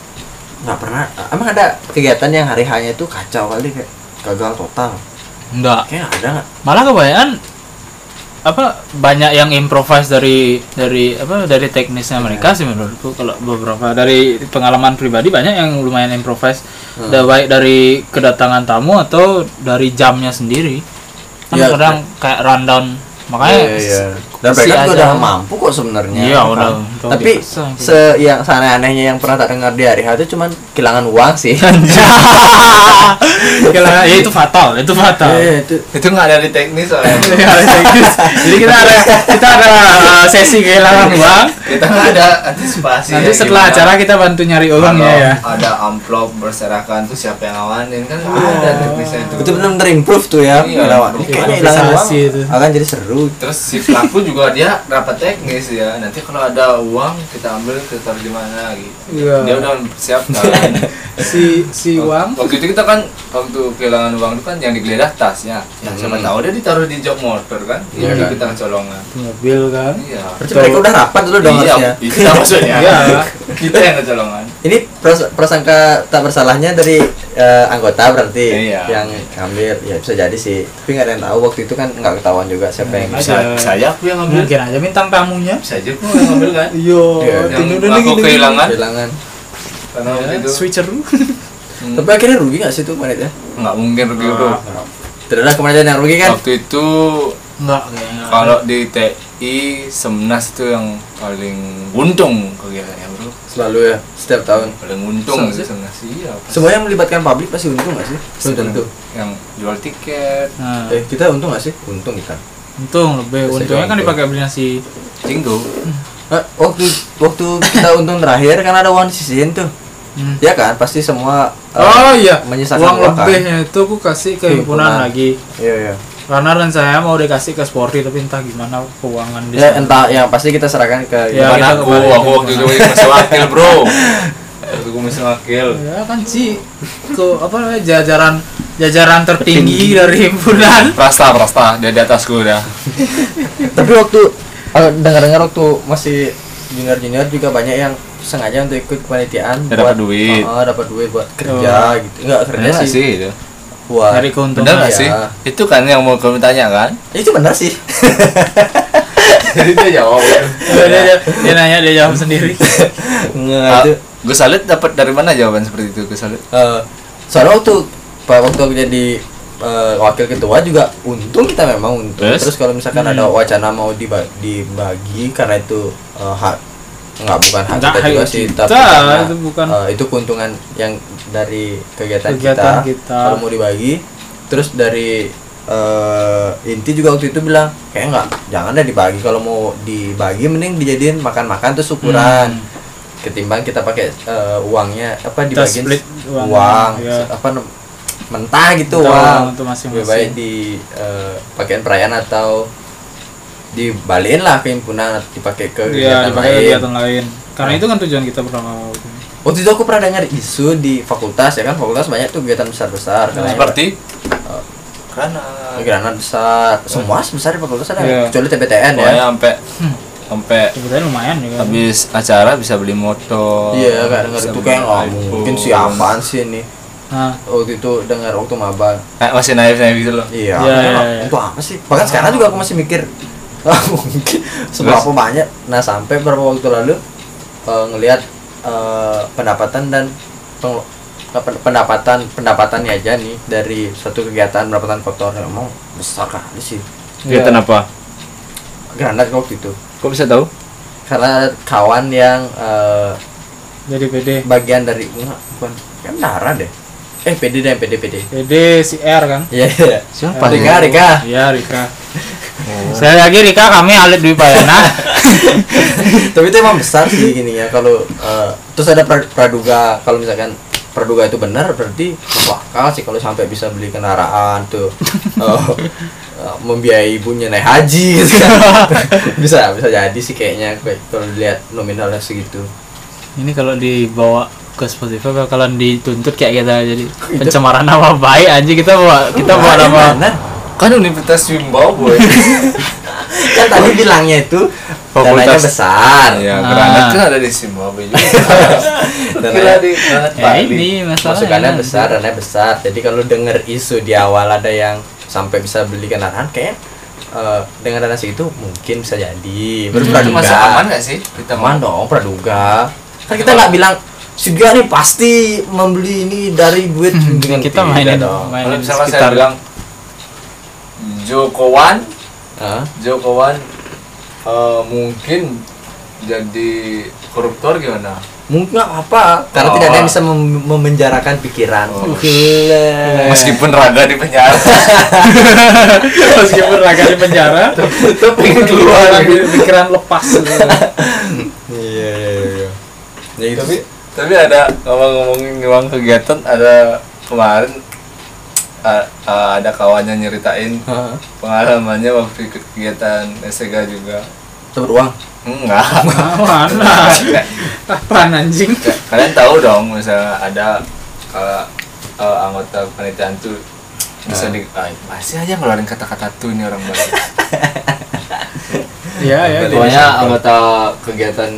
Speaker 1: nggak pernah emang ada kegiatan yang hari H-nya itu kacau kali kayak gagal total
Speaker 2: Enggak.
Speaker 1: kayak nggak ada nggak
Speaker 2: malah kebanyakan apa banyak yang improvise dari dari apa dari teknisnya mereka sih menurutku kalau beberapa dari pengalaman pribadi banyak yang lumayan improvise Da- baik dari kedatangan tamu atau dari jamnya sendiri kan
Speaker 1: Ya,
Speaker 2: kadang kayak rundown
Speaker 1: Iya,
Speaker 2: makanya
Speaker 1: iya. Dan
Speaker 2: si
Speaker 1: mereka juga
Speaker 2: aja.
Speaker 1: udah mampu kok sebenarnya.
Speaker 2: Iya,
Speaker 1: kan?
Speaker 2: udah.
Speaker 1: Tapi
Speaker 2: Bisa, gitu.
Speaker 1: se yang sana anehnya yang pernah tak dengar di hari hari itu cuman kehilangan uang sih.
Speaker 2: Iya, Gila, ya itu fatal itu fatal
Speaker 1: Iya, itu
Speaker 2: Eh.
Speaker 3: Itu nggak ada di teknis soalnya.
Speaker 2: jadi kita ada kita ada uh, sesi kehilangan uang
Speaker 3: Kita nggak ada antisipasi.
Speaker 2: nanti
Speaker 3: ya,
Speaker 2: setelah
Speaker 3: gimana.
Speaker 2: acara kita bantu nyari uangnya
Speaker 3: Kalau
Speaker 2: ya
Speaker 3: Ada amplop berserakan tuh siapa yang ngawanin kan nggak
Speaker 2: Ah.
Speaker 3: ada teknisnya itu.
Speaker 1: itu benar benar improve tuh ya.
Speaker 3: Iya,
Speaker 1: Lewat.
Speaker 3: improve.
Speaker 1: Kayaknya hilangan uang
Speaker 2: Improvisasi itu.
Speaker 1: akan jadi seru.
Speaker 3: Terus si pelaku juga dia rapat teknis ya. Nanti kalau ada uang kita ambil ke taruh di mana gitu.
Speaker 2: Iya.
Speaker 3: Dia udah mempersiapkan.
Speaker 2: si si uang
Speaker 3: Waktu itu kita kan waktu kehilangan uang itu kan yang digeledah tasnya. Ya siapa
Speaker 1: Hmm.
Speaker 3: tahu dia ditaruh di jok motor kan.
Speaker 1: Iya,
Speaker 3: itu
Speaker 1: kan.
Speaker 3: kita kecolongan.
Speaker 2: mobil kan
Speaker 3: Iya.
Speaker 1: Berarti mereka udah rapat dulu dong
Speaker 3: Iya,
Speaker 1: harusnya.
Speaker 3: kita maksudnya.
Speaker 2: Iya.
Speaker 3: kita yang kecolongan.
Speaker 1: Ini pras- prasangka tak bersalahnya dari eh, anggota berarti
Speaker 3: Iya.
Speaker 1: yang ambil ya bisa jadi sih. Tapi nggak ada yang tahu waktu itu kan nggak ketahuan juga siapa yang
Speaker 2: Ada.
Speaker 1: bisa.
Speaker 3: Sa- Saya aku yang ngambil.
Speaker 2: mungkin aja bintang tamunya
Speaker 3: Bisa aja aku yang ngambil kan.
Speaker 2: yo
Speaker 1: Iya.
Speaker 2: tunggu
Speaker 3: Yang
Speaker 2: dulu nih,
Speaker 3: aku
Speaker 2: gini,
Speaker 3: kehilangan.
Speaker 1: Kehilangan.
Speaker 3: Karena
Speaker 2: gini.
Speaker 3: waktu
Speaker 2: Ya,
Speaker 3: itu
Speaker 2: switcheroo
Speaker 3: hmm,
Speaker 1: Tapi akhirnya rugi nggak sih tuh kemarin ya?
Speaker 3: nggak mungkin rugi bro.
Speaker 1: Tidak ada kemarin yang rugi kan?
Speaker 3: Waktu itu
Speaker 2: enggak kayaknya
Speaker 3: kalau di TI Semnas itu yang paling untung kegiatannya bro.
Speaker 1: Selalu ya, setiap tahun.
Speaker 3: Paling untung
Speaker 1: Semnas?
Speaker 3: sih Semnas iya. pasti.
Speaker 1: Semua yang melibatkan publik pasti untung nggak sih? Belum tentu.
Speaker 3: Yang jual tiket,
Speaker 2: nah,
Speaker 1: Eh, kita untung nggak sih? Untung kita.
Speaker 2: untung lebih
Speaker 1: Bisa
Speaker 2: untungnya kan
Speaker 1: diuntung.
Speaker 2: dipakai belinya si
Speaker 3: jinggo.
Speaker 1: Eh, waktu waktu kita untung terakhir kan ada one season tuh.
Speaker 2: Hmm.
Speaker 1: Ya kan? Pasti semua eh,
Speaker 2: oh iya
Speaker 1: menyisakan
Speaker 2: uang
Speaker 1: uang, kan?
Speaker 2: lebihnya itu aku kasih ke
Speaker 1: Himpunan.
Speaker 2: himpunan lagi
Speaker 1: Iya, iya.
Speaker 2: karena dan saya mau dikasih ke sporty tapi entah gimana keuangan di
Speaker 1: Ya
Speaker 2: sana.
Speaker 1: entah yang pasti kita serahkan ke
Speaker 2: Ya,
Speaker 3: Bukan
Speaker 2: kita
Speaker 3: aku,
Speaker 2: kemarin
Speaker 3: aku
Speaker 2: itu
Speaker 3: waktu itu masih wakil bro. Kumis wakil.
Speaker 2: Ya kan si ke apa namanya jajaran jajaran tertinggi dari himpunan.
Speaker 3: Prasta, prasta, dia di atas gue dah.
Speaker 1: tapi waktu eh, dengar-dengar waktu masih junior-junior juga banyak yang sengaja untuk ikut kepanitiaan
Speaker 3: Ya, dapat duit.
Speaker 1: Oh, dapat duit buat kerja gitu enggak kerja
Speaker 3: Bener nggak
Speaker 1: sih,
Speaker 3: Iya sih itu?
Speaker 1: buat
Speaker 2: Dari keuntungan.
Speaker 3: Bener
Speaker 1: Iya.
Speaker 3: nggak sih? Itu kan yang mau kamu tanya kan?
Speaker 1: Ya, itu benar sih
Speaker 3: Jadi dia jawab.
Speaker 2: Dia, dia, dia nanya dia jawab sendiri.
Speaker 1: enggak
Speaker 3: Ah,
Speaker 1: itu
Speaker 3: Gue salut Nah, dapat dari mana jawaban seperti itu? Gue salut.
Speaker 1: Eh, soalnya waktu pa- waktu aku jadi eh, wakil ketua juga untung kita memang untung
Speaker 3: Terus?
Speaker 1: terus kalau misalkan ada
Speaker 2: Hmm.
Speaker 1: wacana mau diba- dibagi karena itu eh, hak nggak bukan hak
Speaker 2: Nggak
Speaker 1: kita
Speaker 2: hak
Speaker 1: juga sih
Speaker 2: kita,
Speaker 1: tapi karena,
Speaker 2: itu bukan.
Speaker 1: eh, itu keuntungan yang dari kegiatan,
Speaker 2: Kegiatan
Speaker 1: kita,
Speaker 2: kita.
Speaker 1: kalau mau dibagi terus dari eh, inti juga waktu itu bilang kayak nggak jangan deh dibagi kalau mau dibagi mending dijadiin makan-makan terus syukuran
Speaker 2: Hmm.
Speaker 1: ketimbang kita pakai eh, uangnya apa
Speaker 2: Kita
Speaker 1: dibagiin
Speaker 2: split
Speaker 1: uang,
Speaker 2: uang, ya.
Speaker 1: apa nem- mentah gitu uang
Speaker 2: Kita uang itu masing-masing.
Speaker 1: lebih baik di eh, pakaian perayaan atau dibalikin lah ke himpunan atau dipakai ke
Speaker 2: Dia
Speaker 1: kegiatan
Speaker 2: Iya, dipakai
Speaker 1: lain
Speaker 2: kegiatan lain. Karena itu kan tujuan kita pertama.
Speaker 1: waktu itu aku pernah dengar isu di fakultas ya kan fakultas banyak tuh kegiatan kan? besar besar
Speaker 2: Nah, iya.
Speaker 3: Seperti
Speaker 4: Karena
Speaker 1: granat Eh, besar semua besar di fakultas ada
Speaker 2: Iya.
Speaker 1: kecuali TPTN ya
Speaker 3: pokoknya sampai sampai
Speaker 2: Sebenarnya lumayan ya kan. juga.
Speaker 3: habis acara bisa beli motor.
Speaker 1: iya kayak dengar
Speaker 3: bisa
Speaker 1: itu
Speaker 3: beli
Speaker 1: kayak nggak
Speaker 3: iPhone.
Speaker 1: mungkin siapaan sih ini
Speaker 2: Nah,
Speaker 1: waktu itu dengar waktu maba
Speaker 3: Kayak masih naif naif gitu loh.
Speaker 1: Iya.
Speaker 2: Iya,
Speaker 1: aku
Speaker 2: iya,
Speaker 1: nggak-
Speaker 2: iya.
Speaker 1: Itu apa sih? Bahkan sekarang juga aku masih mikir "Ah, mungkin seberapa banyak. Nah sampai beberapa waktu lalu eh, ngelihat eh, pendapatan dan peng- apa, pendapatan pendapatannya aja nih dari suatu kegiatan pendapatan kotor Nah, emang besar kali sih
Speaker 3: Kegiatan apa?
Speaker 1: granat waktu itu
Speaker 3: Kok bisa tahu?
Speaker 1: karena kawan yang eh,
Speaker 2: jadi PD.
Speaker 1: bagian dari enggak bukan kan darah deh eh PD deh PD PD
Speaker 2: PD si R kan?
Speaker 1: iya iya
Speaker 5: Siapa sih?
Speaker 1: Eh, Rika Rika
Speaker 2: Iya, Rika. Sekali lagi Rika kami Alit Dwi Payana.
Speaker 1: tapi itu emang besar sih gini ya kalau eh, terus ada pra- praduga kalau misalkan praduga itu benar berarti bakal sih kalau sampai bisa beli kendaraan tuh eh, eh, membiayai ibunya naik haji gitu kan. bisa bisa jadi sih kayaknya kayak kalau dilihat nominalnya segitu
Speaker 2: Ini kalau dibawa ke Spotify bakalan dituntut kayak kita jadi pencemaran nama baik anjing kita bawa kita bawa nama
Speaker 1: Nah,
Speaker 3: Kan Universitas Zimbabwe.
Speaker 1: kan tadi bilangnya itu
Speaker 3: Fakultas.
Speaker 1: dananya besar
Speaker 3: Iya,
Speaker 2: Ah.
Speaker 3: granat kan ada di Zimbabwe juga. Kira di granat
Speaker 2: ya
Speaker 3: Bali.
Speaker 2: ini kan. masalahnya
Speaker 1: masukannya besar dananya besar jadi kalau denger isu di awal ada yang sampai bisa beli kendaraan kayak eh, dengan dana segitu mungkin bisa jadi Baru
Speaker 3: Itu
Speaker 1: praduga
Speaker 3: masih aman nggak sih? Kita
Speaker 1: aman ya? dong praduga kan kita nggak bilang si dia nih pasti membeli ini dari duit dengan
Speaker 2: kita
Speaker 1: tidak
Speaker 2: mainin
Speaker 1: dong
Speaker 3: Kalau
Speaker 2: mainin
Speaker 3: misalnya saya
Speaker 2: sekitar
Speaker 3: bilang Jokowan,
Speaker 1: Hah?
Speaker 3: Jokowan eh, mungkin jadi koruptor gimana?
Speaker 1: mungkin nggak apa karena
Speaker 3: Oh.
Speaker 1: tidak ada yang bisa mem- memenjarakan pikiran
Speaker 3: Oh.
Speaker 1: Gila.
Speaker 2: Eh.
Speaker 3: Meskipun raga di penjara,
Speaker 2: meskipun raga di penjara
Speaker 3: tetap ingin keluar.
Speaker 2: pikiran- pikiran lepas gitu.
Speaker 1: iya iya iya, iya Ya, itu
Speaker 3: tapi tapi ada ngomong-ngomongin uang kegiatan ada kemarin a- a- ada kawannya nyeritain
Speaker 1: Hah?
Speaker 3: pengalamannya waktu ikut kegiatan SEGA juga.
Speaker 1: Itu beruang
Speaker 3: Enggak.
Speaker 2: Ah, mana apaan anjing
Speaker 3: kalian tahu dong misalnya ada kalau eh, anggota penelitian tuh bisa di ah, masih aja ngeluarin kata-kata tuh nih orang Bali
Speaker 2: ya ya
Speaker 1: Balik.
Speaker 3: pokoknya anggota kegiatan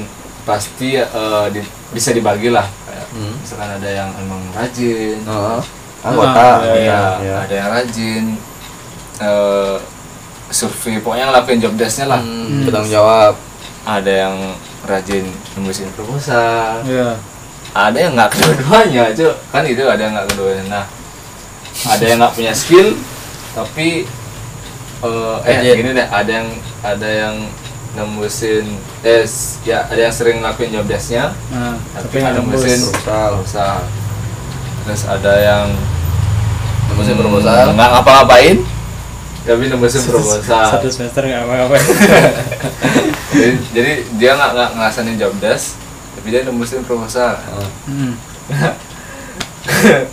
Speaker 3: pasti eh, di- bisa dibagi lah Kayak
Speaker 1: Hmm.
Speaker 3: misalkan ada yang emang rajin
Speaker 1: Heeh.
Speaker 2: Ah,
Speaker 1: anggota
Speaker 3: iya,
Speaker 1: iya.
Speaker 3: ada yang rajin eh, survei pokoknya ngelakuin job desk-nya lah
Speaker 1: Hmm, bertanggung jawab
Speaker 3: ada yang rajin nembusin proposal
Speaker 2: ya
Speaker 3: ada yang nggak kedua-duanya itu kan itu ada yang nggak kedua-duanya nah ada yang nggak punya skill tapi eh, eh
Speaker 1: Rajin.
Speaker 3: gini deh ada yang ada yang nembusin eh s- ya ada yang sering ngelakuin job desk-nya
Speaker 2: nah, tapi
Speaker 3: tapi
Speaker 2: nggak
Speaker 3: ada mesin
Speaker 2: nembus
Speaker 1: proposal
Speaker 3: proposal terus ada yang
Speaker 1: Nembusin
Speaker 3: hmm,
Speaker 1: proposal.
Speaker 3: nggak ngapa-ngapain Ya, tapi nembusin proposal
Speaker 2: satu semester nggak apa-apa
Speaker 3: jadi, jadi dia nggak nggak ngelaksanain job desk tapi dia nembusin proposal
Speaker 2: Hmm.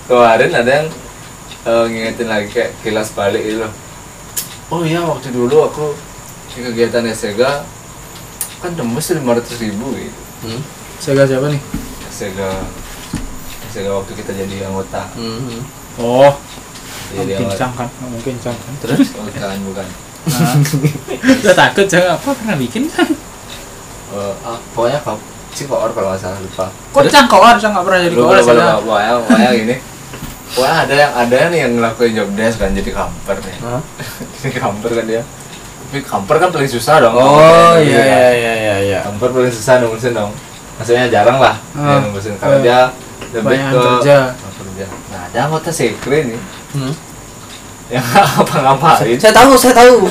Speaker 3: kemarin ada yang eh, ngingetin lagi kayak kilas balik itu loh oh iya waktu dulu aku di kegiatan SEGA kan tembus lima ratus ribu gitu
Speaker 1: Hmm.
Speaker 2: Sega siapa nih
Speaker 3: SEGA Sehingga waktu kita jadi anggota
Speaker 4: Mhm.
Speaker 2: oh
Speaker 3: Jadi
Speaker 2: mungkin
Speaker 3: anggota
Speaker 2: cangkan nggak mungkin cangkan
Speaker 4: terus
Speaker 3: Bukan, bukan
Speaker 2: nah. udah takut jangan apa pernah bikin kan
Speaker 3: Eh, ah, Pokoknya kau Si koor kalau nggak salah lupa
Speaker 2: kok cangkoan saya nggak pernah jadi
Speaker 3: Lupa,
Speaker 2: koan
Speaker 3: lupa, lupa
Speaker 2: saya
Speaker 3: Pokoknya, pokoknya gini Pokoknya ada yang ada nih yang ngelakuin job desk kan jadi kamper nih
Speaker 4: Hah?
Speaker 3: Jadi kamper kan dia Tapi kamper kan paling susah dong
Speaker 4: oh iya iya iya iya iya
Speaker 3: Kamper paling susah nungguin dong Maksudnya jarang lah dia
Speaker 2: Ah.
Speaker 3: nungguin Karena
Speaker 2: Eh,
Speaker 3: dia lebih
Speaker 2: banyak
Speaker 3: ke
Speaker 2: kerja.
Speaker 3: Oh, kerja. Nah ada anggota sekre nih
Speaker 4: Hmm.
Speaker 3: yang ngapa-ngapain
Speaker 1: Saya tahu, saya tahu.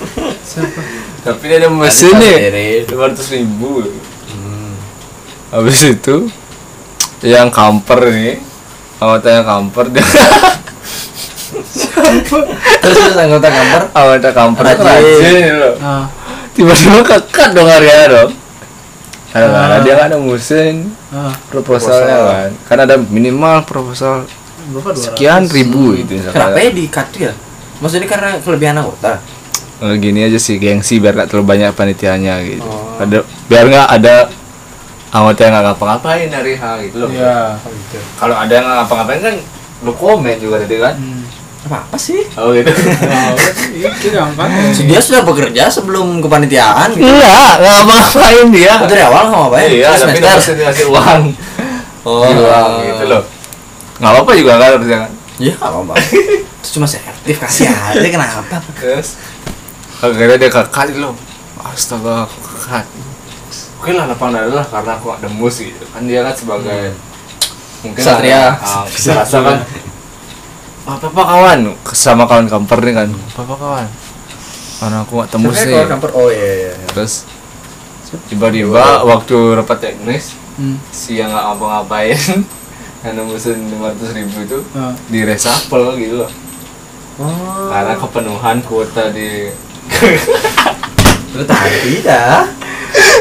Speaker 3: tapi dia ada mesin
Speaker 4: Tadi
Speaker 3: nih
Speaker 4: sendiri.
Speaker 3: dua ratus ribu
Speaker 4: Hmm.
Speaker 3: habis itu yang kamper nih anggota yang kamper dia
Speaker 1: terus terus anggota kamar
Speaker 3: anggota kamper
Speaker 1: Rajin.
Speaker 3: rajin loh.
Speaker 2: nah
Speaker 3: tiba-tiba kekat dong harganya dong karena
Speaker 2: Ah.
Speaker 3: karena dia kan ada mesin
Speaker 2: nah
Speaker 3: proposalnya
Speaker 1: Proposal.
Speaker 3: kan karena ada minimal proposal
Speaker 2: berapa dua
Speaker 3: sekian ribu itu
Speaker 1: Kenapa ya di cut ya? Maksudnya karena kelebihan anggota.
Speaker 3: Eh, gini aja sih gengsi biar nggak terlalu banyak panitianya gitu ada biar nggak ada anggota yang nggak ngapa-ngapain dari hal gitu loh
Speaker 2: iya
Speaker 3: kalau ada yang nggak ngapa-ngapain kan lu komen juga tadi kan
Speaker 2: Hmm.
Speaker 1: Apa, apa sih?
Speaker 3: oh gitu
Speaker 2: Wow, itu gampang
Speaker 1: Dia sudah bekerja sebelum kepanitiaan gitu.
Speaker 3: enggak nggak ngapa-ngapain Iya, dia
Speaker 1: Oh, dari awal sama apa ya?
Speaker 3: iya
Speaker 1: Terus
Speaker 3: tapi
Speaker 1: semester.
Speaker 3: harus dikasih uang
Speaker 1: Oh,
Speaker 3: uang gitu loh nggak apa-apa juga kan harusnya kan
Speaker 1: Iya, nggak apa-apa. Itu cuma selektif kasih aja kenapa?
Speaker 3: terus akhirnya dia kekat gitu loh astaga aku kekat oke lah lapang dada lah karena aku ada mus gitu kan dia kan sebagai mungkin
Speaker 1: Satria.
Speaker 3: ada- ah, rasa kan apa apa kawan sama kawan kamper nih kan apa apa kawan karena aku nggak tembus
Speaker 4: Sebenarnya
Speaker 3: nih
Speaker 4: kalau kamper oh iya iya iya.
Speaker 3: terus tiba-tiba waktu rapat teknis
Speaker 2: Hmm.
Speaker 3: si yang nggak ngapa-ngapain yang nembusin lima ribu itu
Speaker 2: Nah,
Speaker 3: di reshuffle gitu loh
Speaker 1: Oh,
Speaker 3: karena kepenuhan kuota di
Speaker 1: itu tadi dah.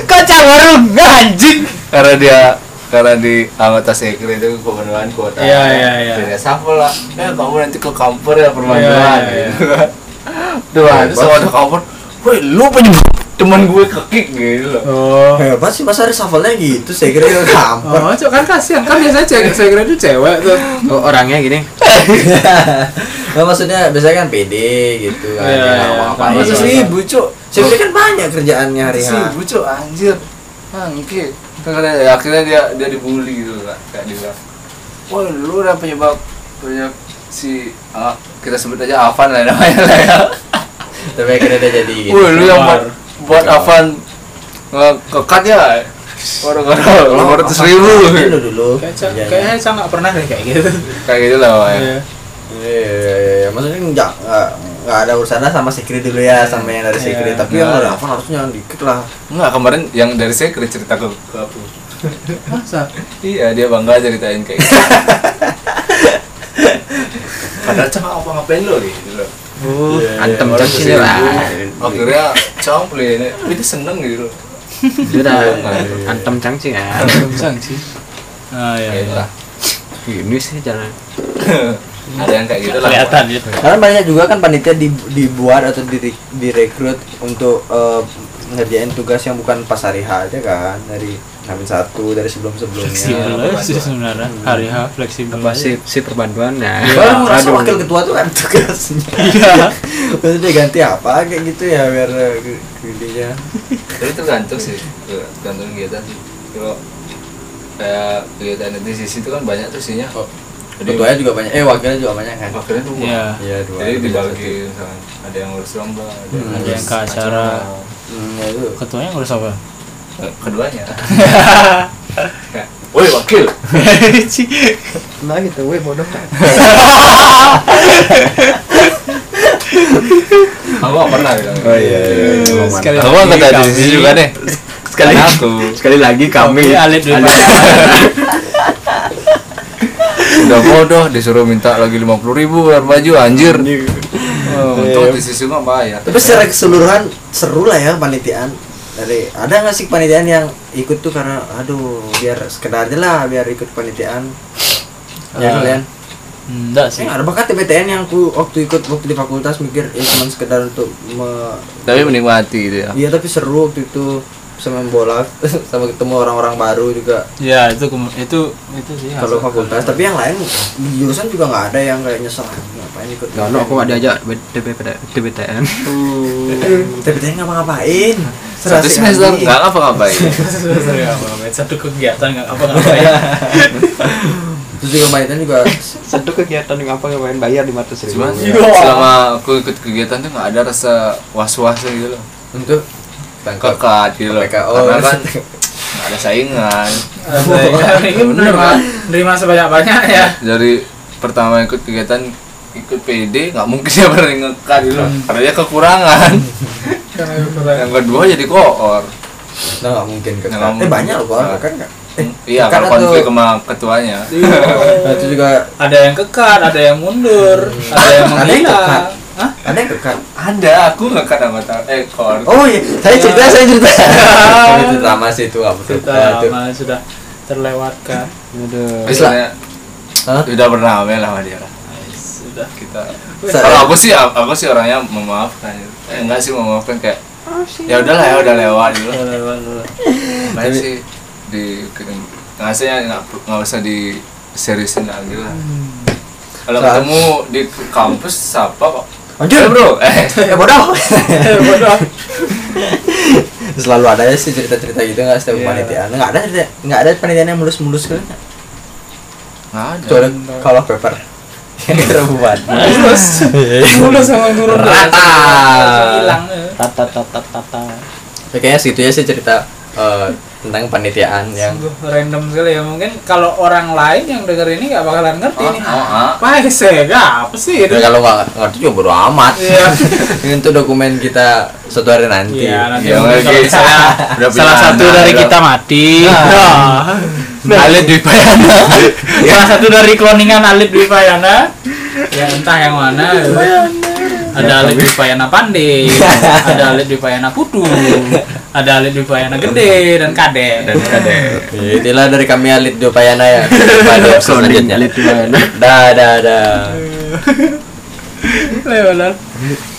Speaker 2: kacang warung Ya, anjing
Speaker 3: karena dia karena di anggota sekre itu kepenuhan kuota
Speaker 2: Iya, iya, iya.
Speaker 3: di reshuffle lah ya kamu nanti ke kamper ya permanduan
Speaker 2: Iya, iya,
Speaker 3: gitu kan tuh ada sama ada kamper woi lu punya teman gue kekik gitu loh
Speaker 2: oh
Speaker 1: Hebat sih masa reshuffle-nya gitu, saya kira itu gampang.
Speaker 2: Oh, cok kan kasihan kan biasanya cewek saya kira itu cewek tuh.
Speaker 4: Oh, orangnya gini
Speaker 1: Nah, maksudnya biasanya kan PD gitu kan.
Speaker 2: Iya,
Speaker 1: Iya,
Speaker 2: iya.
Speaker 1: apa
Speaker 2: Tambah
Speaker 1: Masa seribu,
Speaker 2: seribu,
Speaker 1: Cuk. Saya kira kan banyak kerjaannya hari-hari.
Speaker 3: seribu cok anjir Ah, bangke akhirnya ya, akhirnya dia dia dibully gitu lah kayak dia wah lu udah penyebab penyebab si ah, kita sebut aja Avan lah namanya lah ya
Speaker 1: Tapi akhirnya dia jadi gitu.
Speaker 3: wah lu yang
Speaker 2: Iya,
Speaker 3: buat
Speaker 2: keluar.
Speaker 3: buat Avan nggak kekat ya orang-orang lima ratus ribu
Speaker 1: Dulu dulu.
Speaker 2: Kayaknya
Speaker 1: Iya, iya.
Speaker 2: kayaknya saya nggak pernah deh kayak gitu.
Speaker 3: kayak gitu lah Pak, ya
Speaker 2: Iya.
Speaker 1: Iya, iya, iya. maksudnya nggak nggak nggak ada urusannya sama secret dulu ya sama yang dari secret
Speaker 2: Iya.
Speaker 1: tapi yang dari apa harusnya yang dikit lah
Speaker 3: nggak kemarin yang dari saya kira cerita ke, ke aku
Speaker 2: Masa?
Speaker 3: iya dia bangga ceritain kayak gitu padahal cuma apa ngapain lo gitu loh
Speaker 1: Uh, Iya,
Speaker 2: Oh,
Speaker 4: antem
Speaker 3: orang
Speaker 4: cacing
Speaker 3: kesini.
Speaker 4: lah.
Speaker 3: akhirnya compli ini itu seneng gitu loh
Speaker 4: Sudah Iya. antem cangcing ah.
Speaker 2: sang sih. Ah iya.
Speaker 3: Kayak
Speaker 2: iya.
Speaker 3: lah
Speaker 4: Ini sih jalan.
Speaker 3: ada yang kayak gitu lah
Speaker 2: Kelihatan gitu.
Speaker 1: karena banyak juga kan panitia di- dibuat atau di, direkrut untuk eh, ngerjain tugas yang bukan pas hari H aja kan dari hamin satu dari sebelum
Speaker 2: Fleksibel
Speaker 1: sebelumnya
Speaker 2: aja sih sebenarnya. Hari H fleksibel.
Speaker 4: Apa
Speaker 2: aja.
Speaker 4: si si perbanduan nah.
Speaker 1: Padahal merasa Iya, wakil ketua tuh kan tugasnya
Speaker 2: Iya.
Speaker 1: Maksudnya dia ganti apa kayak gitu ya biar eh, ge- gedenya
Speaker 3: tapi tergantung sih Ya, tergantung kegiatan sih kalau kayak kegiatan di sisi itu kan banyak tuh isinya
Speaker 4: Oh.
Speaker 3: jadi
Speaker 1: ketuanya juga banyak eh wakilnya juga banyak kan
Speaker 3: akhirnya tuh
Speaker 2: Iya.
Speaker 1: iya dua
Speaker 3: jadi dibagi misalnya ada yang ngurus lomba ada
Speaker 1: Hmm.
Speaker 3: yang
Speaker 2: Ada yang
Speaker 3: ngurus
Speaker 2: ke acara.
Speaker 1: Hmm, ya itu
Speaker 2: Ketuanya ngurus apa?
Speaker 3: Eh, keduanya Kayak, woi wakil
Speaker 4: Nah gitu, weh bodoh.
Speaker 3: aku gak pernah bilang gitu.
Speaker 4: Iya,
Speaker 2: Sekali
Speaker 3: aku
Speaker 2: lagi
Speaker 3: nggak ada di
Speaker 2: kami-
Speaker 3: sisi juga deh sekali aku
Speaker 4: Sekali lagi
Speaker 2: Kami alit Iya, dulu.
Speaker 3: udah bodoh disuruh minta lagi lima puluh ribu baju anjir Oh, untung di sisi mah bayar
Speaker 1: Tapi secara keseluruhan seru lah ya panitiaan. Dari ada nggak sih panitiaan yang ikut tuh karena aduh biar sekedar aja lah biar ikut panitiaan.
Speaker 2: Eh,
Speaker 1: Ya kalian.
Speaker 2: Enggak sih.
Speaker 1: Saya ada bakat TPTN yang aku waktu ikut waktu di fakultas mikir ya cuma sekedar untuk me-
Speaker 3: tapi menikmati gitu ya
Speaker 1: Iya tapi seru waktu itu sama bola sama ketemu orang-orang baru juga
Speaker 2: ya itu kem- itu itu sih
Speaker 1: kalau
Speaker 2: hasil.
Speaker 1: fakultas tapi yang lain di jurusan juga nggak ada yang kayak nyesel "Ah, ngapain ikut
Speaker 4: Gak ada, aku gak diajak DBTN
Speaker 1: tapi ngapa-ngapain
Speaker 3: Satu semester nggak apa ngapain.
Speaker 2: satu kegiatan nggak apa ngapain
Speaker 1: terus juga mainan juga
Speaker 4: Satu kegiatan yang apa ngapain bayar 500 ribu
Speaker 3: Cuman
Speaker 1: Iya.
Speaker 3: selama aku ikut kegiatan tuh nggak ada rasa was-was gitu loh.
Speaker 1: untuk oh,
Speaker 3: Kekat gitu loh.
Speaker 1: PKO.
Speaker 3: Karena kan nggak ada saingan.
Speaker 2: ini menerima menerima sebanyak banyak ya
Speaker 3: Dari pertama ikut kegiatan ikut PD nggak mungkin dia berani ngekat gitu
Speaker 1: Hmm.
Speaker 3: loh. Karena dia kekurangan.
Speaker 2: Iya.
Speaker 3: Yang kedua jadi koor.
Speaker 1: nah nggak mungkin kan
Speaker 3: Nggak
Speaker 1: eh
Speaker 3: mungkin.
Speaker 1: banyak loh
Speaker 3: Nah.
Speaker 1: kan nggak
Speaker 3: Iya,
Speaker 1: karena
Speaker 3: kalau konflik
Speaker 1: tuh-
Speaker 3: sama ketuanya.
Speaker 1: Nah, itu juga
Speaker 2: ada yang kekat ada yang mundur Hmm.
Speaker 1: Ada
Speaker 2: ada yang
Speaker 1: yang kekat.
Speaker 2: menghilang Hah?
Speaker 1: ada yang kekat
Speaker 3: Ada, aku ngekat sama ta- eh koor.
Speaker 1: oh iya saya cerita saya cerita Ini cerita mas itu nggak betul
Speaker 2: kita
Speaker 1: Nah, itu.
Speaker 2: malah sudah terlewatkan
Speaker 4: Aduh
Speaker 3: Terus lah. Udah bernamai lah sama dia lah.
Speaker 2: sudah
Speaker 3: Kita
Speaker 1: Saya-
Speaker 2: ya?
Speaker 3: kalau aku sih aku sih orangnya memaafkan. Eh, enggak sih memaafkan kayak ya udahlah ya udah lewat gitu.
Speaker 2: sudah lewat lewat.
Speaker 3: Makanya sih di nggak usah ya, nggak per- nggak usah di seriusin lagi lah.
Speaker 2: Hmm.
Speaker 3: Kalau
Speaker 1: Saat-
Speaker 3: ketemu di kampus siapa kok?
Speaker 1: Anjir.
Speaker 3: Eh, bro. Eh,
Speaker 1: eh bodoh selalu ada ya sih cerita-cerita gitu nggak setiap
Speaker 2: Iya.
Speaker 1: panitiaan nggak ada cerita- nggak ada panitiaan yang mulus-mulus kan
Speaker 3: nggak ada.
Speaker 1: kecuali kalau paper yang rebuan
Speaker 2: mulus mulus sama turun
Speaker 1: Rata.
Speaker 2: hilang eh.
Speaker 4: Tata tata tata
Speaker 1: Ya, kayaknya segitu ya sih cerita eh, tentang panitiaan
Speaker 2: yang
Speaker 1: yang
Speaker 2: random sekali ya mungkin kalau orang lain yang denger ini nggak bakalan ngerti
Speaker 3: Oh,
Speaker 2: nih
Speaker 3: oh, ah.
Speaker 2: apa sih apa sih
Speaker 1: Ya,
Speaker 2: itu
Speaker 1: kalau nggak ngerti juga bodo amat
Speaker 2: Gitu. Iya.
Speaker 1: Ini untuk dokumen kita suatu hari nanti
Speaker 2: Iya, nanti
Speaker 3: Iya,
Speaker 2: mungkin
Speaker 3: lagi.
Speaker 2: kalau salah,
Speaker 3: Udah punya
Speaker 2: salah satu
Speaker 3: anak,
Speaker 2: dari
Speaker 3: udah-
Speaker 2: kita mati. Nah, Alip Dwi Payana. salah satu dari kloningan Alip Dwi Payana. Ya entah yang mana. Ada Alip Dwi Payana Pandey, ada Alip Dwi Payana Putu, ada Alip Dwi Payana Gede dan Kade.
Speaker 1: Ya, itulah dari kami Alit Dopayana ya pada episode selanjutnya
Speaker 4: Lihat gimana
Speaker 1: dah dah dah
Speaker 2: Lewat.